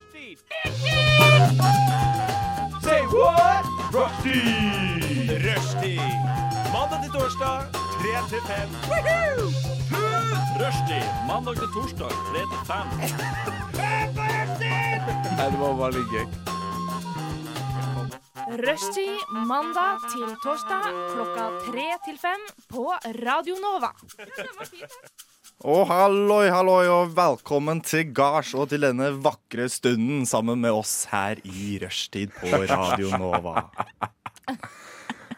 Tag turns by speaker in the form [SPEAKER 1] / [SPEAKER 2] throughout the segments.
[SPEAKER 1] Rushdie! Say what? Rushdie! Rushdie! Mandag til torsdag, 3 til 5. Rushdie! Mandag til torsdag, 3 til 5.
[SPEAKER 2] Rushtid mandag til torsdag klokka tre til fem på Radio Nova.
[SPEAKER 3] Og halloi, halloi, og velkommen til gards og til denne vakre stunden sammen med oss her i rushtid på Radio Nova.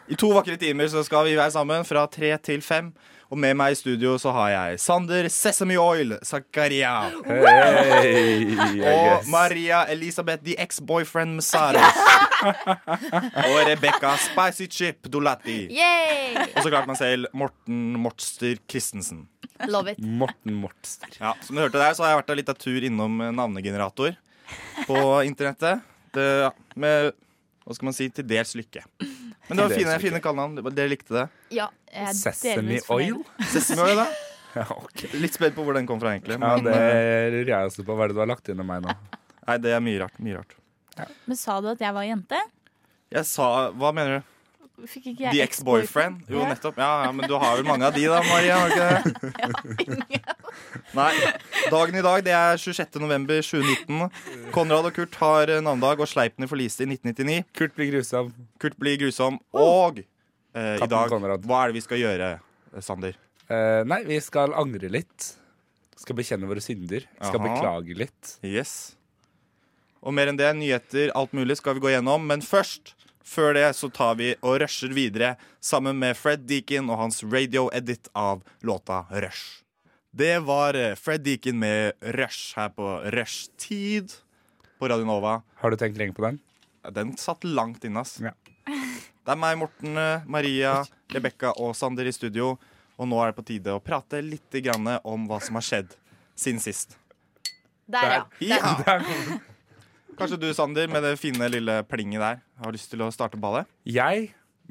[SPEAKER 3] I to vakre timer så skal vi være sammen fra tre til fem. Og med meg i studio så har jeg Sander Sesame Oil Zakaria. Og Maria Elisabeth The Ex-Boyfriend Messaros. Og Rebekka Spicy Chip Dolati.
[SPEAKER 4] Yay!
[SPEAKER 3] Og så klart meg selv Morten Mortster Christensen.
[SPEAKER 4] Love it.
[SPEAKER 5] Morten Mortster.
[SPEAKER 3] Ja, Som du hørte der, så har jeg vært en liten tur innom eh, navnegenerator på internettet. Det, ja, med hva skal man si til dels lykke. Men
[SPEAKER 5] Til
[SPEAKER 3] det var
[SPEAKER 5] dels
[SPEAKER 3] fine,
[SPEAKER 5] lykke.
[SPEAKER 3] fine kallenavn. Det var- Dere likte det.
[SPEAKER 4] Ja, jeg er
[SPEAKER 5] Sesame
[SPEAKER 4] delvis fornøyd.
[SPEAKER 5] Oil?
[SPEAKER 3] Sesame Oil, da.
[SPEAKER 5] Ja, ok.
[SPEAKER 3] Litt spent på hvor den kom fra, egentlig.
[SPEAKER 5] Ja,
[SPEAKER 3] Men
[SPEAKER 5] det
[SPEAKER 3] eh,
[SPEAKER 5] lurer jeg også på. Hva er det du har lagt inn i meg nå?
[SPEAKER 3] nei, det er mye rart. Mye rart.
[SPEAKER 4] Men sa du at jeg var jente?
[SPEAKER 3] Jeg sa Hva mener du?
[SPEAKER 4] Fikk ikke jeg
[SPEAKER 3] The ex-boyfriend? Jo,
[SPEAKER 4] Ja.
[SPEAKER 3] nettopp. Ja, ja, Men du har vel mange av de, da, Maria? Har du ikke det? Nei. Dagen i dag det er 26. november 2019. Konrad og Kurt har eh, navnedag, og Sleipner forliste i 1999.
[SPEAKER 5] Kurt blir grusom.
[SPEAKER 3] Kurt blir grusom. Og eh, i
[SPEAKER 5] Kaptein
[SPEAKER 3] dag,
[SPEAKER 5] Konrad.
[SPEAKER 3] hva er det vi skal gjøre, eh, Sander?
[SPEAKER 5] Eh, nei, vi skal angre litt. Skal bekjenne våre synder. Skal
[SPEAKER 3] Aha.
[SPEAKER 5] beklage litt.
[SPEAKER 3] Yes. Og mer enn det, nyheter, alt mulig skal vi gå gjennom. Men først, før det, så tar vi og rusher videre sammen med Fred Deakin og hans radio-edit av låta Rush. Det var eh, Fred Deakin med Rush her på Rushtid på Radio Nova.
[SPEAKER 5] Har du tenkt lenge på den?
[SPEAKER 3] Ja, Den satt langt inne, ass.
[SPEAKER 5] Ja.
[SPEAKER 3] Det er meg, Morten, eh, Maria, Rebekka og Sander i studio. Og nå er det på tide å prate litt grann om hva som har skjedd siden sist.
[SPEAKER 4] Der, ja.
[SPEAKER 3] Ja!
[SPEAKER 5] Der.
[SPEAKER 3] Kanskje du, Sander, med det fine lille plinget der, har lyst til å starte ballet?
[SPEAKER 5] Jeg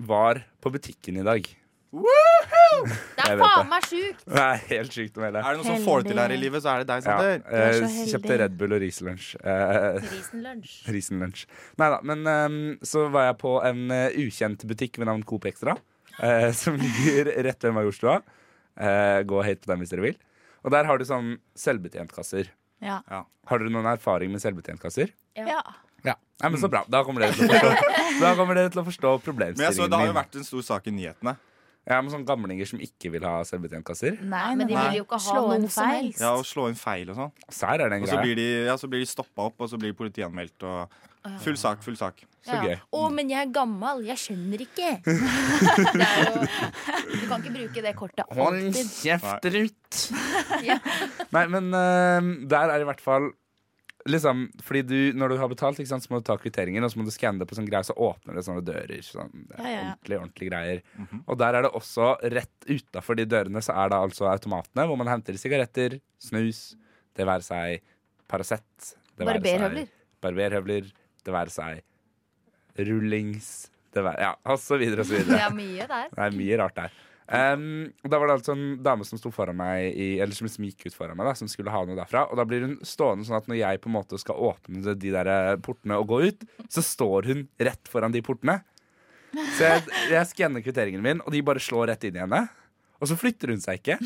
[SPEAKER 5] var på butikken i dag.
[SPEAKER 4] Det
[SPEAKER 5] Jeg
[SPEAKER 4] er
[SPEAKER 5] vet
[SPEAKER 4] faen
[SPEAKER 5] det.
[SPEAKER 4] meg sjukt!
[SPEAKER 5] Det er helt sjukt å melde.
[SPEAKER 3] Er det noe som får det til her i livet, så er det deg,
[SPEAKER 5] Ja,
[SPEAKER 3] Sander.
[SPEAKER 5] eh,
[SPEAKER 4] Du er så heldig.
[SPEAKER 5] kjøpte Red Bull og Rieslunsj. Eh,
[SPEAKER 4] Risenlunsj.
[SPEAKER 5] Risenlunsj. Nei da, men ehm, så var jeg på en eh, ukjent butikk ved navn Coop Extra, eh, som ligger rett ved Majorstua. Eh, gå og hate på dem hvis dere vil. Og der har du sånn selvbetjentkasser.
[SPEAKER 4] Ja.
[SPEAKER 5] Har dere noen erfaring med selvbetjentkasser?
[SPEAKER 4] ja.
[SPEAKER 5] Ja. Nei, men Så bra. Da kommer dere til å forstå, da kommer dere til å forstå
[SPEAKER 3] Men jeg så
[SPEAKER 5] problemstillingen
[SPEAKER 3] det har jo
[SPEAKER 5] min.
[SPEAKER 3] vært en stor sak i nyhetene.
[SPEAKER 5] Ja, men sånn Gamlinger som ikke vil ha selvbetjentkasser.
[SPEAKER 4] Nei, men de
[SPEAKER 3] Nei.
[SPEAKER 4] vil jo ikke ha
[SPEAKER 2] Slå
[SPEAKER 4] noen
[SPEAKER 2] noe som
[SPEAKER 4] feil.
[SPEAKER 2] helst.
[SPEAKER 3] Ja, Å slå inn feil og sånn.
[SPEAKER 5] Sær er det en
[SPEAKER 3] Og så
[SPEAKER 5] greie.
[SPEAKER 3] blir de, ja, så blir de stoppa opp, og så blir de politianmeldt og Full sak, full sak.
[SPEAKER 5] Så gøy.
[SPEAKER 6] Å, men jeg er gammel. Jeg skjønner ikke. Det er jo, du kan ikke bruke det kortet alltid.
[SPEAKER 5] kjeft, Ruth! Nei, men eh, der er i hvert fall Liksom, fordi du, Når du har betalt, ikke sant, så må du ta kvitteringen og så må du skanne det på sånn greier, så åpner det sånne dører. Sånn, det er
[SPEAKER 4] Ja, ja, ja.
[SPEAKER 5] Ordentlig, ordentlig greier. Og der er det også rett utafor de dørene så er det altså automatene hvor man henter sigaretter, snus, det være seg Paracet, det være
[SPEAKER 4] Barberhøvler.
[SPEAKER 5] seg barberhøvler, det være seg rullings, det være Ja, og så videre og så videre.
[SPEAKER 4] Det er mye der.
[SPEAKER 5] Det er mye rart der. Ehm, da var det altså en dame som sto foran meg i, Eller som liksom gikk ut foran meg, da som skulle ha noe derfra. Og da blir hun stående sånn at når jeg på en måte skal åpne de der eh, portene og gå ut, så står hun rett foran de portene. Så jeg, jeg skanner kvitteringen min, og de bare slår rett inn i henne. Og så flytter hun seg ikke.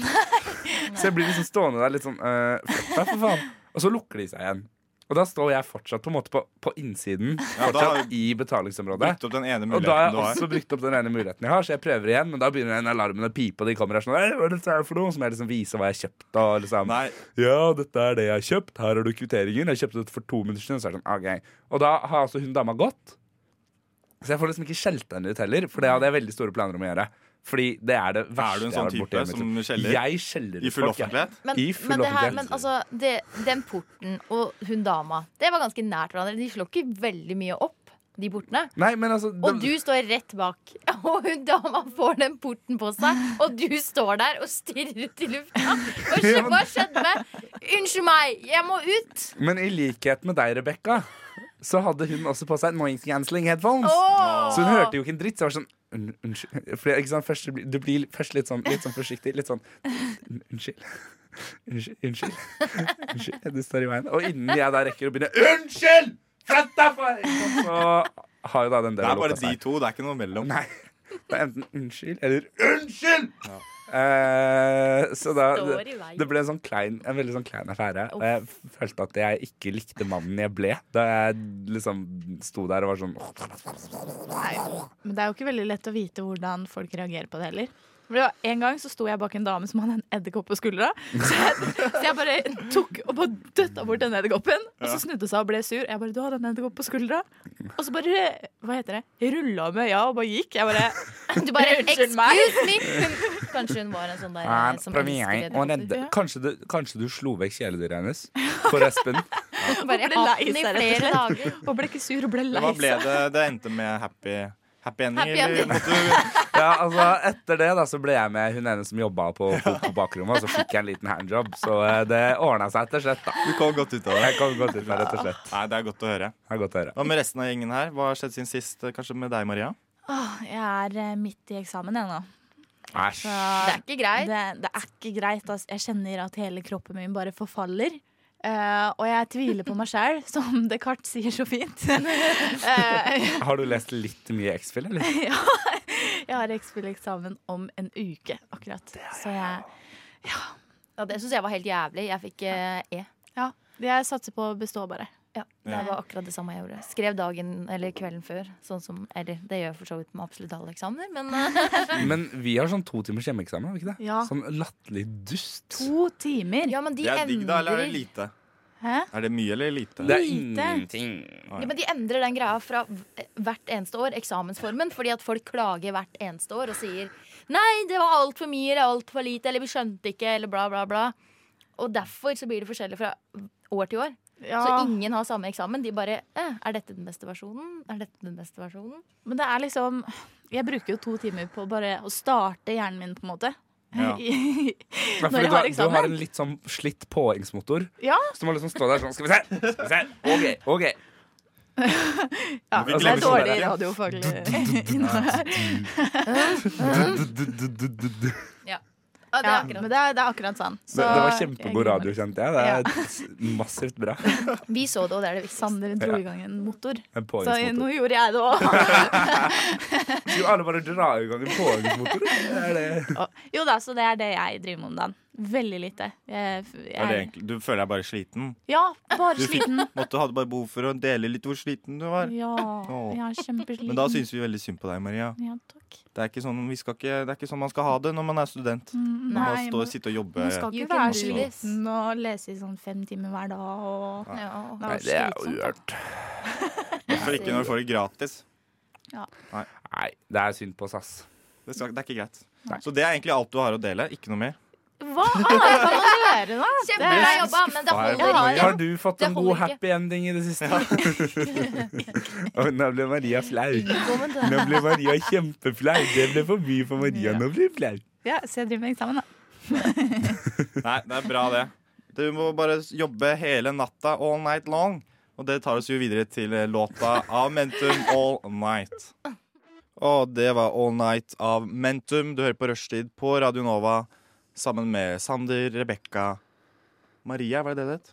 [SPEAKER 5] Så jeg blir liksom stående der litt sånn eh, Flytt deg, for faen. Og så lukker de seg igjen. Og da står jeg fortsatt på en måte på, på innsiden,
[SPEAKER 3] Ja, da har
[SPEAKER 5] fortsatt i betalingsområdet.
[SPEAKER 3] Brukt opp den ene
[SPEAKER 5] Og da har
[SPEAKER 3] muligheten
[SPEAKER 5] jeg
[SPEAKER 3] du har.
[SPEAKER 5] også brukt opp den ene muligheten jeg har, så jeg prøver igjen. Men da begynner den alarmen å pipe, og de kommer her sånn «Ei, hva er dette her for noe? Så må jeg liksom vise hva jeg har kjøpt. Og liksom,
[SPEAKER 3] Nei,
[SPEAKER 5] ja, dette er det jeg har kjøpt. Her har du kvitteringen. Jeg kjøpte dette for to minutter siden. Så er det sånn, ok. Og da har altså hun dama gått. Så jeg får liksom ikke skjelt henne ut heller, for det hadde jeg veldig store planer om å gjøre. Fordi det er det
[SPEAKER 3] Er du
[SPEAKER 5] verste
[SPEAKER 3] en
[SPEAKER 5] jeg har
[SPEAKER 3] sånn
[SPEAKER 5] vært borti.
[SPEAKER 3] type
[SPEAKER 5] i mitt
[SPEAKER 3] som
[SPEAKER 5] liv.
[SPEAKER 3] skjeller?
[SPEAKER 5] Jeg skjeller
[SPEAKER 3] I
[SPEAKER 5] ut
[SPEAKER 3] full
[SPEAKER 5] folk, jeg.
[SPEAKER 3] offentlighet?
[SPEAKER 6] Men,
[SPEAKER 5] I full
[SPEAKER 6] men, det her,
[SPEAKER 5] offentlighet.
[SPEAKER 6] men altså, det, den porten og hun dama, det var ganske nært hverandre. De slår ikke veldig mye opp, de portene.
[SPEAKER 5] Nei, men altså
[SPEAKER 6] Og du
[SPEAKER 5] det-
[SPEAKER 6] står rett bak, og hun dama får den porten på seg, og du står der og stirrer ut i lufta. Og skj- hva skjedde med Unnskyld meg, jeg må ut!
[SPEAKER 5] Men i likhet med deg, Rebekka, så hadde hun også på seg noise cancelling headphones.
[SPEAKER 6] Åh!
[SPEAKER 5] Så hun hørte jo ikke en dritt. Så jeg var sånn "Un- Unnskyld. For, ikke sant? Først, du blir først litt sånn, litt sånn forsiktig. Litt sånn "Un- Unnskyld. Unnskyld. Unnskyld. unnskyld. Du står i veien. Og innen jeg da rekker å begynne Unnskyld! Flytt deg! for-" Ikke sant? Så har jo da den
[SPEAKER 3] Det
[SPEAKER 5] delen
[SPEAKER 3] er bare
[SPEAKER 5] lukket
[SPEAKER 3] de
[SPEAKER 5] seg.
[SPEAKER 3] to, det er ikke noe mellom.
[SPEAKER 5] Nei. Det er enten unnskyld eller unnskyld! Eh, så da
[SPEAKER 4] Står i
[SPEAKER 5] det,
[SPEAKER 4] veien.
[SPEAKER 5] det ble en sånn klein En veldig sånn klein affære. Og jeg følte at jeg ikke likte mannen jeg ble da jeg liksom sto der og var sånn
[SPEAKER 7] Men det er jo ikke veldig lett å vite hvordan folk reagerer på det heller. For det var En gang så sto jeg bak en dame som hadde en edderkopp på skuldra. Så jeg, så jeg bare tok og bare døtta bort den edderkoppen. Og så snudde hun seg og ble sur. Jeg bare 'Du hadde en edderkopp på skuldra.' Og så bare Hva heter det? Rulla med øya og bare gikk. Jeg bare
[SPEAKER 4] Du bare
[SPEAKER 7] Unnskyld meg.
[SPEAKER 4] Excuse me! Hun, kanskje hun var en sånn der eh, som
[SPEAKER 5] Prøv
[SPEAKER 4] elsker
[SPEAKER 5] jeg å
[SPEAKER 4] edderkopper.
[SPEAKER 5] redde kanskje du, kanskje du slo vekk kjæledyret hennes for Espen?
[SPEAKER 4] Hun Bare
[SPEAKER 7] Hun ble
[SPEAKER 4] hatt
[SPEAKER 7] lei
[SPEAKER 4] den i
[SPEAKER 7] seg, rett og
[SPEAKER 4] flere
[SPEAKER 7] slett.
[SPEAKER 4] dager.
[SPEAKER 7] Og ble ikke sur og ble
[SPEAKER 3] Det,
[SPEAKER 7] lei
[SPEAKER 3] hva ble
[SPEAKER 7] seg.
[SPEAKER 3] det? det endte med happy, happy ending?
[SPEAKER 4] Happy
[SPEAKER 3] eller
[SPEAKER 4] ending.
[SPEAKER 3] måtte du-
[SPEAKER 5] Ja, altså Etter det da så ble jeg med hun ene som jobba på, på, på bakrommet, og så fikk jeg en liten handjob. Så eh, det ordna seg til slutt, da.
[SPEAKER 3] Du kom godt ut av det.
[SPEAKER 5] Jeg kom godt ut med det til slutt.
[SPEAKER 3] Nei, Det er godt å høre.
[SPEAKER 5] Det er godt å høre.
[SPEAKER 3] Hva med resten av gjengen her? Hva har skjedd siden sist? eh, Kanskje med deg, Maria?
[SPEAKER 7] Åh, Jeg er eh, midt i eksamen ennå.
[SPEAKER 5] Æsj.
[SPEAKER 4] Det er ikke greit.
[SPEAKER 7] Det, det er ikke greit. ass. Jeg kjenner at hele kroppen min bare forfaller. Eh, og jeg tviler på meg sjæl, som Descartes sier så fint. Eh,
[SPEAKER 5] Har du lest litt mye X-Fill, eller?
[SPEAKER 7] jeg har eksamen om en uke, akkurat. Så jeg,
[SPEAKER 4] Ja, det syns jeg var helt jævlig. Jeg fikk eh, E.
[SPEAKER 7] ja, jeg satser på å bestå, bare.
[SPEAKER 4] Ja, Det var akkurat det samme jeg gjorde. Skrev dagen eller kvelden før. Sånn som, eller det gjør jeg for så vidt med absolutt alle eksamener, men eh,
[SPEAKER 5] Men vi har sånn to timers hjemmeeksamen, har vi ikke det?
[SPEAKER 7] Ja.
[SPEAKER 5] Sånn latterlig dust.
[SPEAKER 7] To timer.
[SPEAKER 4] Ja, men de
[SPEAKER 3] Det er digg, da, eller er
[SPEAKER 4] endrer
[SPEAKER 3] det lite?
[SPEAKER 7] Hæ?
[SPEAKER 3] Er det mye eller lite?
[SPEAKER 5] Det er
[SPEAKER 7] Lite.
[SPEAKER 5] ingenting.
[SPEAKER 4] Ja, men De endrer den greia fra v- hvert eneste år, eksamensformen, fordi at folk klager hvert eneste år og sier Nei, det var altfor mye eller altfor lite, eller vi skjønte ikke, eller bla, bla, bla. Og derfor så blir det forskjellig fra år til år. Så
[SPEAKER 7] Ja.
[SPEAKER 4] ingen har samme eksamen. De bare eh, Er dette den beste versjonen? Er dette den beste versjonen?
[SPEAKER 7] Men det er liksom Jeg bruker jo to timer på bare å starte hjernen min, på en måte.
[SPEAKER 3] Ja.
[SPEAKER 5] Ja, fordi
[SPEAKER 7] Når
[SPEAKER 5] du,
[SPEAKER 7] jeg har
[SPEAKER 5] har, du
[SPEAKER 7] eksamen.
[SPEAKER 5] har en litt sånn slitt påhengsmotor.
[SPEAKER 7] Ja.
[SPEAKER 5] Så må liksom stå der sånn Skal vi se! Skal vi se. OK. ok
[SPEAKER 7] Ja,
[SPEAKER 3] Du fikk
[SPEAKER 7] det er
[SPEAKER 3] leve sånn
[SPEAKER 7] dårlig
[SPEAKER 5] der.
[SPEAKER 7] radiofaglig.
[SPEAKER 5] Det,
[SPEAKER 4] Ja, det
[SPEAKER 7] Ja,
[SPEAKER 4] er akkurat.
[SPEAKER 7] men det er, det er akkurat sånn. Så
[SPEAKER 5] det var
[SPEAKER 7] jeg
[SPEAKER 5] kjempegod
[SPEAKER 7] gruer meg.
[SPEAKER 5] radio, kjente jeg. Det er massivt bra.
[SPEAKER 4] Vi så det, og det er det viktigste.
[SPEAKER 7] Sander dro i gang en motor.
[SPEAKER 5] En
[SPEAKER 7] Så nå
[SPEAKER 5] påhengsmotor.
[SPEAKER 7] gjorde jeg det òg.
[SPEAKER 5] Skulle alle bare dra i gang en påhengsmotor? Det er det.
[SPEAKER 7] Jo da, så det er det jeg driver med om dagen. Veldig lite.
[SPEAKER 3] Er
[SPEAKER 7] Jeg,
[SPEAKER 3] det
[SPEAKER 7] jeg,
[SPEAKER 3] egentlig? Du føler deg bare sliten?
[SPEAKER 7] ja, bare
[SPEAKER 3] Du fikk,
[SPEAKER 7] sliten.
[SPEAKER 3] måtte, hadde bare behov for å dele litt hvor sliten du var.
[SPEAKER 7] Ja,
[SPEAKER 3] Åh.
[SPEAKER 7] jeg er kjempesliten.
[SPEAKER 3] Men da syns vi veldig synd på deg, Maria.
[SPEAKER 7] Ja, takk.
[SPEAKER 3] Det er ikke sånn, vi skal ikke, det er ikke sånn man skal ha det når man er student. Man må
[SPEAKER 7] Mm, Nei,
[SPEAKER 3] stå,
[SPEAKER 7] man,
[SPEAKER 3] sitte og jobbe.
[SPEAKER 7] man skal
[SPEAKER 4] Mm. You
[SPEAKER 7] ikke
[SPEAKER 4] can
[SPEAKER 7] være
[SPEAKER 4] do this.
[SPEAKER 7] sliten og lese i sånn fem timer hver dag og
[SPEAKER 4] Ja.
[SPEAKER 7] Det
[SPEAKER 5] Nei,
[SPEAKER 7] er
[SPEAKER 5] det er
[SPEAKER 7] slitsomt.
[SPEAKER 5] uhørt.
[SPEAKER 3] Hvorfor ikke når du får det gratis?
[SPEAKER 5] Nei, det er synd på oss, ass.
[SPEAKER 3] Det, skal, det er ikke greit. Så det er egentlig alt du har å dele. Ikke noe mer.
[SPEAKER 7] Hva annet kan man gjøre, da?
[SPEAKER 4] Kjempebra jobba, men det
[SPEAKER 3] Jeg
[SPEAKER 4] holder
[SPEAKER 7] har-
[SPEAKER 4] ikke.
[SPEAKER 5] Har du fått
[SPEAKER 4] Det
[SPEAKER 5] en
[SPEAKER 4] holder
[SPEAKER 5] god
[SPEAKER 4] ikke.
[SPEAKER 5] happy ending i det siste? Oi, nå ble Maria flau.
[SPEAKER 4] Velkommen til
[SPEAKER 5] Nå ble Maria kjempeflau. Det ble for mye for Maria. Nå blir hun flau.
[SPEAKER 7] Ja, så jeg driver med eksamen, da.
[SPEAKER 3] Nei, det er bra, det. Du må bare jobbe hele natta all night long. Og det tar oss jo videre til eh, låta av Mentum All Night. Og det var All Night av Mentum. Du hører på Rushtid på Radio Nova sammen med Sander, Rebekka Maria, var det det det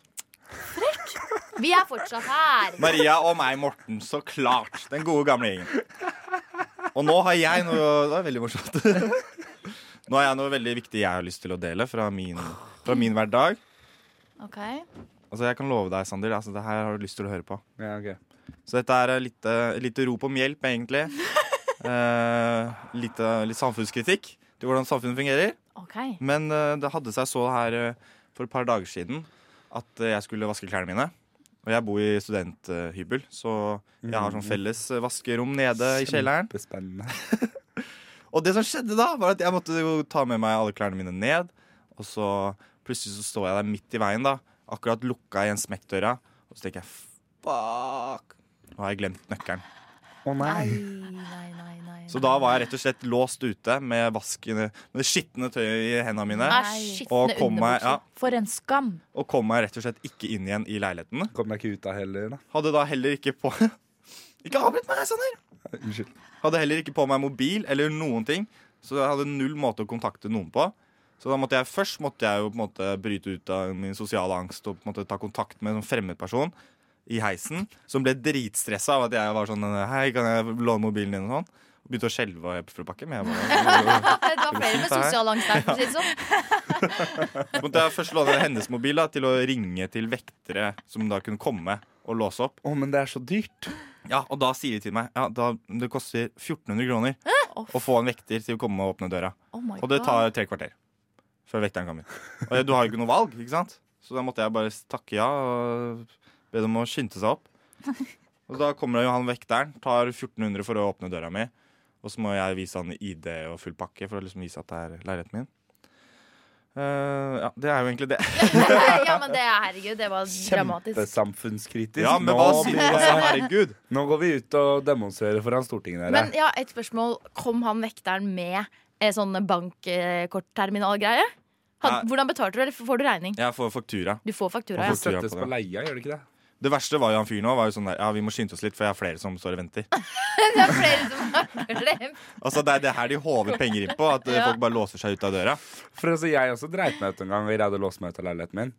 [SPEAKER 3] het?
[SPEAKER 4] Vi er fortsatt her.
[SPEAKER 3] Maria og meg, Morten. Så klart. Den gode, gamle gjengen. Og nå har jeg noe Det var veldig morsomt. Nå har jeg noe veldig viktig jeg har lyst til å dele fra min, fra min hverdag.
[SPEAKER 7] Ok.
[SPEAKER 3] Altså, jeg kan love deg, Sander, altså, det her har du lyst til å høre på.
[SPEAKER 5] Ja, ok.
[SPEAKER 3] Så dette er et lite, et lite rop om hjelp, egentlig. Eh, lite, litt samfunnskritikk til hvordan samfunnet fungerer. Men eh, det hadde seg så her eh, for et par dager siden at eh, jeg skulle vaske klærne mine. Og jeg bor i studenthybel, så jeg har sånn felles eh, vaskerom nede i kjelleren.
[SPEAKER 5] Kjempespennende.
[SPEAKER 3] Og det som skjedde da, var at jeg måtte jo ta med meg alle klærne mine ned. Og så plutselig så står jeg der midt i veien, da. Akkurat lukka igjen smekkdøra. Og så tenker jeg fuck, nå har jeg glemt nøkkelen.
[SPEAKER 5] Å nei.
[SPEAKER 4] Nei, nei, nei.
[SPEAKER 3] Så da var jeg rett og slett låst ute med, vaskende, med det skitne tøyet i hendene mine. Og
[SPEAKER 4] Ah, skitne
[SPEAKER 3] kom, meg, ja,
[SPEAKER 4] underbukser.
[SPEAKER 7] For en skam.
[SPEAKER 3] og kom meg rett og slett ikke inn igjen i leiligheten.
[SPEAKER 5] Kom deg ikke ut av heller, da.
[SPEAKER 3] Hadde da heller ikke på Ikke avbryt meg, Sander!
[SPEAKER 5] Unnskyld.
[SPEAKER 3] Hadde heller ikke på meg mobil eller noen ting. Så jeg hadde null måte å kontakte noen på. Så da måtte jeg først måtte jeg jo på en måte bryte ut av min sosiale angst og på en måte ta kontakt med en sånn fremmedperson i heisen, som ble dritstressa av at jeg var sånn Hei, kan jeg låne mobilen din? og sånn. Og begynte å skjelve og jeg på full pakke. Men jeg bare,
[SPEAKER 4] Det var flere med sosial angst der, for å si det sånn.
[SPEAKER 3] så måtte jeg først låne hennes mobil da, til å ringe til vektere som da kunne komme og låse opp.
[SPEAKER 5] Å, men det er så dyrt.
[SPEAKER 3] Ja, Og da sier de til meg ja, da, det koster 1400 kroner å få en vekter til å komme og åpne døra.
[SPEAKER 7] Oh my
[SPEAKER 3] Og det
[SPEAKER 7] God.
[SPEAKER 3] tar tre kvarter før vekteren kommer. Og jeg- du har jo ikke noe valg, ikke sant? Så da måtte jeg bare takke ja og be dem å skynde seg opp. Og da kommer jo han vekteren, tar 1400 for å åpne døra mi. Og så må jeg vise han ID og full pakke for å liksom vise at det er leiligheten min. Eh, ja, det er jo egentlig det.
[SPEAKER 4] Ja, men det, herregud, det var dramatisk.
[SPEAKER 5] Kjempesamfunnskritisk.
[SPEAKER 3] Ja, men
[SPEAKER 5] nå,
[SPEAKER 3] hva sier
[SPEAKER 5] blir-
[SPEAKER 3] altså, herregud.
[SPEAKER 5] nå går vi ut og demonstrerer foran Stortinget. Dere.
[SPEAKER 4] Men ja, et spørsmål. Kom han vekteren med eh, sånn bankkortterminalgreie? Han-
[SPEAKER 3] Nei.
[SPEAKER 4] Hvordan betalte du, eller får du regning?
[SPEAKER 3] Jeg får faktura.
[SPEAKER 4] Du får faktura,
[SPEAKER 3] Man
[SPEAKER 4] ja.
[SPEAKER 5] det
[SPEAKER 3] får styre
[SPEAKER 5] settes på
[SPEAKER 3] på det.
[SPEAKER 5] leia, gjør det ikke det?
[SPEAKER 3] Det verste var jo han fyren nå, var jo sånn der, ja, vi må skynde oss litt, for jeg er flere som står og venter.
[SPEAKER 4] Det er flere som har glemt.
[SPEAKER 3] Altså, Det er det her de håver penger inn på, at eh, folk bare låser seg ut av døra.
[SPEAKER 5] For altså, jeg også dreit meg ut en gang og greide å låse meg ut av leiligheten min.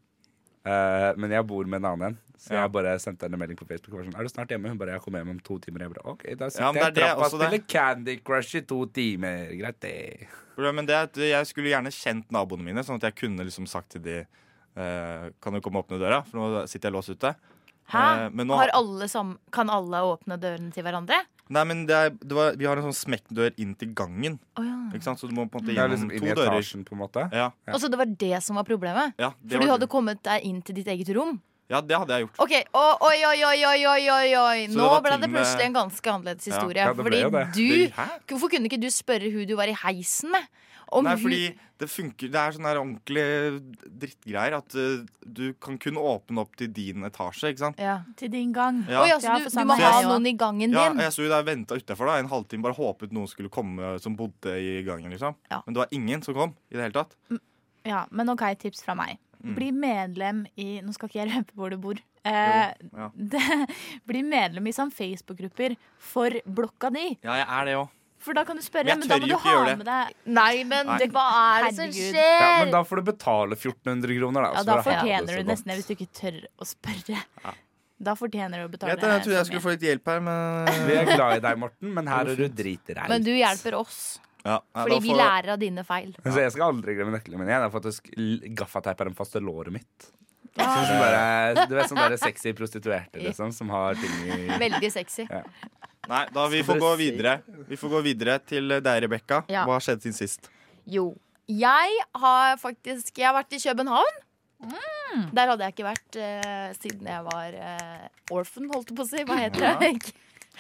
[SPEAKER 5] Eh, men jeg bor med en annen en, så
[SPEAKER 3] Ja.
[SPEAKER 5] jeg bare sendte henne en melding på Facebook. og Var sånn, er du snart hjemme? Hun bare jeg kommer hjem om to timer. Jeg bare, ok, da sitter
[SPEAKER 3] Ja, men
[SPEAKER 5] jeg i
[SPEAKER 3] det er det
[SPEAKER 5] trappa og
[SPEAKER 3] også, det.
[SPEAKER 5] spiller Candy Crush i to timer. Greit, det.
[SPEAKER 3] Problemet det er at jeg skulle gjerne kjent naboene mine, sånn at jeg kunne liksom sagt til de eh, Kan du komme og åpne døra, for nå sitter jeg låst ute.
[SPEAKER 4] Hæ?
[SPEAKER 3] Eh, men nå,
[SPEAKER 4] Har alle sam kan alle åpne dørene til hverandre?
[SPEAKER 3] nei, men det er, det var, vi har en sånn smekkdør inn til gangen,
[SPEAKER 4] Å ja.
[SPEAKER 3] ikke sant? så du må på en måte
[SPEAKER 5] Det er
[SPEAKER 3] gjennom
[SPEAKER 5] liksom inn i
[SPEAKER 3] to dører.
[SPEAKER 5] etasjen, på en måte.
[SPEAKER 3] Ja,
[SPEAKER 4] Og så det var det som var problemet?
[SPEAKER 3] ja, det
[SPEAKER 4] For du
[SPEAKER 3] var-
[SPEAKER 4] hadde kommet deg inn til ditt eget rom?
[SPEAKER 3] ja, det hadde jeg gjort.
[SPEAKER 4] Ok, Oi, oi, oi, oi, oi, oi, oi.
[SPEAKER 3] Så det
[SPEAKER 4] Nå
[SPEAKER 3] var
[SPEAKER 4] ble
[SPEAKER 3] til
[SPEAKER 4] det
[SPEAKER 3] med-
[SPEAKER 4] plutselig en ganske annerledes historie.
[SPEAKER 5] Ja, det ble
[SPEAKER 4] fordi
[SPEAKER 5] jo det.
[SPEAKER 3] Det-
[SPEAKER 4] du
[SPEAKER 3] Hæ?
[SPEAKER 4] Hvorfor kunne ikke du spørre hun du var i heisen med? Om
[SPEAKER 3] Nei,
[SPEAKER 4] hun-
[SPEAKER 3] fordi det funker Det er sånne her ordentlige drittgreier at eh, du kan kun åpne opp til din etasje, ikke sant?
[SPEAKER 4] ja.
[SPEAKER 7] Til din gang.
[SPEAKER 3] Ja.
[SPEAKER 4] Oi, altså,
[SPEAKER 7] Ja,
[SPEAKER 4] du,
[SPEAKER 7] for
[SPEAKER 4] du
[SPEAKER 7] samme
[SPEAKER 4] må
[SPEAKER 3] her,
[SPEAKER 4] ha
[SPEAKER 7] ja.
[SPEAKER 4] noen i gangen
[SPEAKER 3] Ja,
[SPEAKER 4] din.
[SPEAKER 3] jeg sto jo der og venta utafor en halvtime, bare håpet noen skulle komme som bodde i gangen. liksom
[SPEAKER 4] Ja.
[SPEAKER 3] Men det var ingen som kom. i det hele tatt
[SPEAKER 7] Ja, men ok, tips fra meg. Bli medlem i Nå skal ikke jeg røpe hvor du bor. Eh,
[SPEAKER 3] Mm. Jo, ja.
[SPEAKER 7] det, bli medlem i sånn Facebook-grupper for blokka di.
[SPEAKER 3] Ja, jeg er det òg.
[SPEAKER 7] For da kan du spørre,
[SPEAKER 3] Men jeg
[SPEAKER 7] men da
[SPEAKER 3] tør
[SPEAKER 7] må
[SPEAKER 3] jo
[SPEAKER 7] du
[SPEAKER 3] ikke
[SPEAKER 7] ha
[SPEAKER 3] gjøre det.
[SPEAKER 7] med deg
[SPEAKER 4] Nei, men
[SPEAKER 3] Nei.
[SPEAKER 4] det- hva er det som
[SPEAKER 7] Herregud.
[SPEAKER 5] Ja,
[SPEAKER 4] skjer?
[SPEAKER 5] men da får du betale 1400 kroner, da.
[SPEAKER 3] Altså,
[SPEAKER 7] Ja,
[SPEAKER 5] så
[SPEAKER 7] da
[SPEAKER 5] har det så
[SPEAKER 7] fortjener du
[SPEAKER 5] godt.
[SPEAKER 7] nesten det hvis du ikke tør å spørre. Da fortjener du å betale.
[SPEAKER 3] Jeg trodde
[SPEAKER 4] sånn
[SPEAKER 3] jeg
[SPEAKER 7] så
[SPEAKER 3] skulle
[SPEAKER 7] mye.
[SPEAKER 3] få litt hjelp her, men
[SPEAKER 5] Vi er glad i deg, Morten, men her er du dritrein.
[SPEAKER 4] Men du hjelper oss,
[SPEAKER 3] ja, nei,
[SPEAKER 4] fordi
[SPEAKER 3] da
[SPEAKER 4] vi
[SPEAKER 3] får-
[SPEAKER 4] lærer av dine feil.
[SPEAKER 5] Så jeg skal aldri glemme nøklene mine. igjen. Jeg har faktisk l- gaffateip av den faste låret mitt.
[SPEAKER 4] Ah.
[SPEAKER 7] Ja.
[SPEAKER 5] Sånn der, du vet sånn der sexy prostituerte liksom, som har ting i
[SPEAKER 4] Veldig sexy.
[SPEAKER 3] Nei, da vi får
[SPEAKER 5] dere
[SPEAKER 3] gå
[SPEAKER 5] si-
[SPEAKER 3] videre. Vi får gå videre til eh, deg, Rebekka.
[SPEAKER 4] Ja.
[SPEAKER 3] Hva har skjedd siden sist?
[SPEAKER 4] Jo. Jeg har faktisk Jeg har vært i København.
[SPEAKER 5] Mm.
[SPEAKER 4] Der hadde jeg ikke vært eh, siden jeg var eh, orphan, holdt jeg på å si. Hva heter det?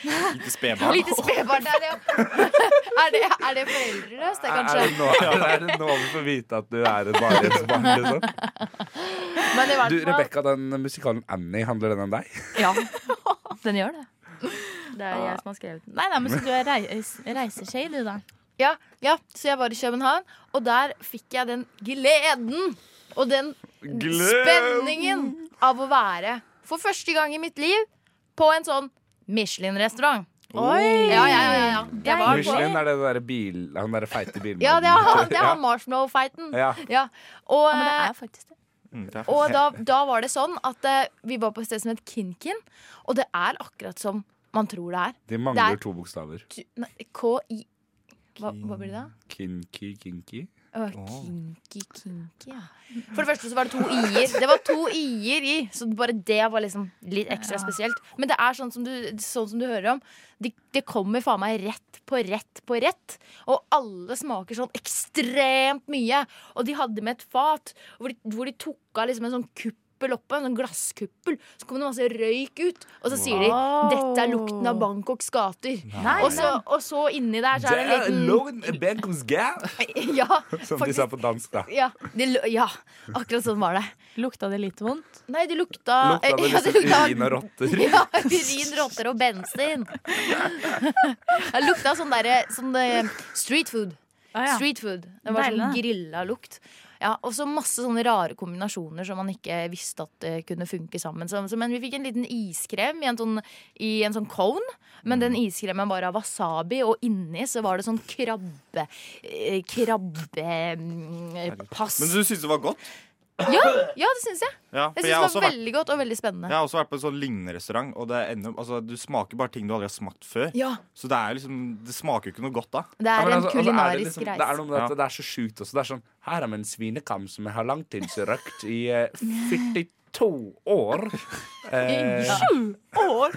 [SPEAKER 3] Lite spedbarn?
[SPEAKER 4] Lite spedbarn. Er, det- er, det- er det foreldreløst, det,
[SPEAKER 5] er,
[SPEAKER 4] kanskje?
[SPEAKER 5] det nå, er det nå vi får vite at du er et barndomsbarn? Liksom?
[SPEAKER 4] Men i hvert
[SPEAKER 5] Du,
[SPEAKER 4] fall-
[SPEAKER 5] Rebekka, den musikalen Annie, handler den om deg?
[SPEAKER 4] Ja, den gjør det. Det er jeg som har skrevet den.
[SPEAKER 7] Nei, nei, men så du er reis, reiseskje, du, da.
[SPEAKER 4] Ja, ja, så jeg var i København, og der fikk jeg den gleden og den spenningen av å være for første gang i mitt liv på en sånn Michelin-restaurant.
[SPEAKER 7] Oi!
[SPEAKER 4] Ja, ja, ja, ja. Jeg var på,
[SPEAKER 5] Michelin er det der bil, han derre feite bilmannen.
[SPEAKER 4] ja, det er han, det er han marshmallow-feiten.
[SPEAKER 5] Ja.
[SPEAKER 4] Ja. Og, eh,
[SPEAKER 7] Men det er jo faktisk det.
[SPEAKER 3] Mm, det er
[SPEAKER 4] og da, da var det sånn at eh, vi var på et sted som het Kinkin, og det er akkurat som man tror det er.
[SPEAKER 5] De
[SPEAKER 4] Det
[SPEAKER 5] mangler
[SPEAKER 4] er-
[SPEAKER 5] to bokstaver.
[SPEAKER 4] K- nei, K-i... Hva, hva blir det da?
[SPEAKER 5] Kinky, kinky.
[SPEAKER 4] Å, kinky, kinky, ja. For det første så var det to i-er. Det var to i-er i, så bare det var liksom litt ekstra spesielt. Men det er sånn som du, sånn som du hører om. Det de kommer faen meg rett på rett på rett. Og alle smaker sånn ekstremt mye. Og de hadde med et fat hvor de, hvor de tok av liksom en sånn kuppel oppe, en sånn glasskuppel. Så kom det masse røyk ut, og så sier
[SPEAKER 7] Wow.
[SPEAKER 4] de 'dette er lukten av Bangkoks gater'.
[SPEAKER 7] Nei,
[SPEAKER 4] Og så, og så inni der så er det en liten Ja,
[SPEAKER 5] som de sa på dansk, da.
[SPEAKER 4] ja, det, lu- ja, akkurat sånn var det.
[SPEAKER 7] Lukta det litt vondt?
[SPEAKER 4] Nei, det lukta
[SPEAKER 5] Lukta det liksom
[SPEAKER 4] ja,
[SPEAKER 5] urin og rotter?
[SPEAKER 4] Ja, urin, rotter og bensin. Det lukta sånn derre sånn, eh, street food.
[SPEAKER 7] Å, ja.
[SPEAKER 4] Street food. Det var
[SPEAKER 7] Deilig,
[SPEAKER 4] sånn
[SPEAKER 7] da.
[SPEAKER 4] grilla lukt. Ja, og så masse sånne rare kombinasjoner som man ikke visste at eh, kunne funke sammen. Så, så, men vi fikk en liten iskrem i en sånn, i en sånn cone. Men den
[SPEAKER 5] Mm.
[SPEAKER 4] iskremen var av wasabi, og inni så var det sånn krabbe... eh, Krabbepass.
[SPEAKER 3] Men du syntes det var godt?
[SPEAKER 4] Ja, ja, det syns jeg.
[SPEAKER 3] Ja, for
[SPEAKER 4] Jeg
[SPEAKER 3] jeg
[SPEAKER 4] syns det
[SPEAKER 3] har
[SPEAKER 4] var
[SPEAKER 3] også vært
[SPEAKER 4] veldig godt og veldig spennende.
[SPEAKER 3] jeg har også vært på en sånn lignende restaurant, og det ender, altså, du smaker bare ting du aldri har smakt før.
[SPEAKER 4] Ja,
[SPEAKER 3] Så det, er jo liksom, det smaker jo ikke noe godt da.
[SPEAKER 4] det
[SPEAKER 5] Ja,
[SPEAKER 4] er
[SPEAKER 5] men
[SPEAKER 4] en
[SPEAKER 5] altså- altså, er det
[SPEAKER 4] kulinarisk
[SPEAKER 5] liksom- Det er
[SPEAKER 4] reise.
[SPEAKER 5] noe med at det er så sjukt også. Det er sånn Her er med en svinekam som jeg har langtidsrøkt i eh, 42 år. Eh,
[SPEAKER 7] År.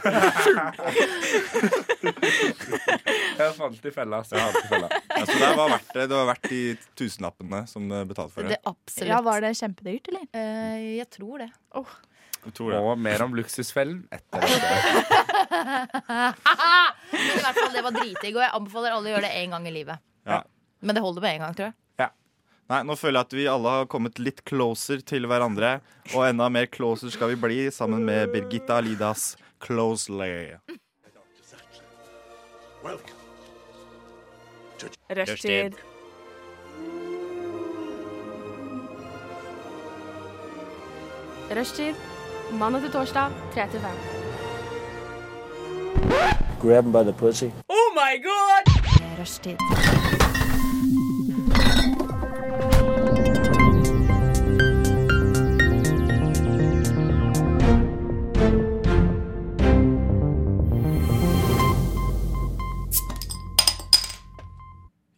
[SPEAKER 5] jeg falt i fella. Så jeg falt i fella.
[SPEAKER 3] Ja, så det var verdt det. Det var verdt de tusenlappene som det betalte for det.
[SPEAKER 4] Det absolutt.
[SPEAKER 7] Ja, var det kjempedyrt, eller?
[SPEAKER 4] Eh, jeg tror det.
[SPEAKER 3] Jeg tror det.
[SPEAKER 5] Og mer om luksusfellen etter dette.
[SPEAKER 4] Men i hvert fall, det var dritdigg, og jeg anbefaler alle å gjøre det én gang i livet.
[SPEAKER 3] Ja.
[SPEAKER 4] Men det holder med én gang, tror jeg.
[SPEAKER 3] Nei, nå føler jeg at vi alle har kommet litt closer til hverandre. Og enda mer closer skal vi bli sammen med Birgitta Alidas Closely.
[SPEAKER 8] Rushtid. Rushtid. Mandag til torsdag, 3 til 5.
[SPEAKER 4] Rushtid.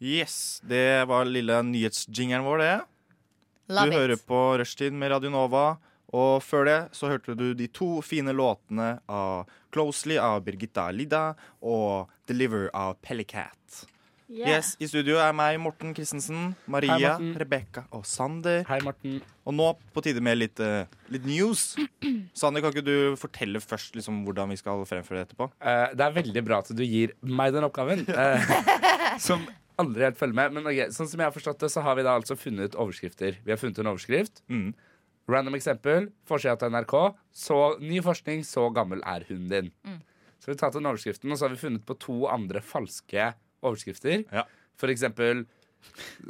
[SPEAKER 3] Yes, det var lille nyhetsjingeren vår, det.
[SPEAKER 4] Love
[SPEAKER 3] du hører
[SPEAKER 4] it.
[SPEAKER 3] på Rushtid med Radio Nova. Og før det så hørte du de to fine låtene av Closely av Birgitta Lida og Deliver av Pellicat. Yes, I studio er meg, Morten Christensen,
[SPEAKER 5] Hei,
[SPEAKER 3] Maria,
[SPEAKER 5] Morten.
[SPEAKER 3] Rebekka og Sander.
[SPEAKER 5] Hei, Morten.
[SPEAKER 3] Og nå på tide med litt, eh, litt news. Sander, kan ikke du fortelle først liksom, hvordan vi skal fremføre det etterpå?
[SPEAKER 5] Eh, det er veldig bra at du gir meg den oppgaven. eh, som aldri helt følger med. Men ok, sånn som jeg har forstått det, så har vi da altså funnet overskrifter. Vi har funnet en overskrift.
[SPEAKER 3] Mm.
[SPEAKER 5] Random eksempel. Forsida til NRK. Så ny forskning, så gammel er hunden din.
[SPEAKER 3] Mm.
[SPEAKER 5] Så har vi tatt den overskriften, og så har vi funnet på to andre falske overskrifter.
[SPEAKER 3] Ja.
[SPEAKER 5] For eksempel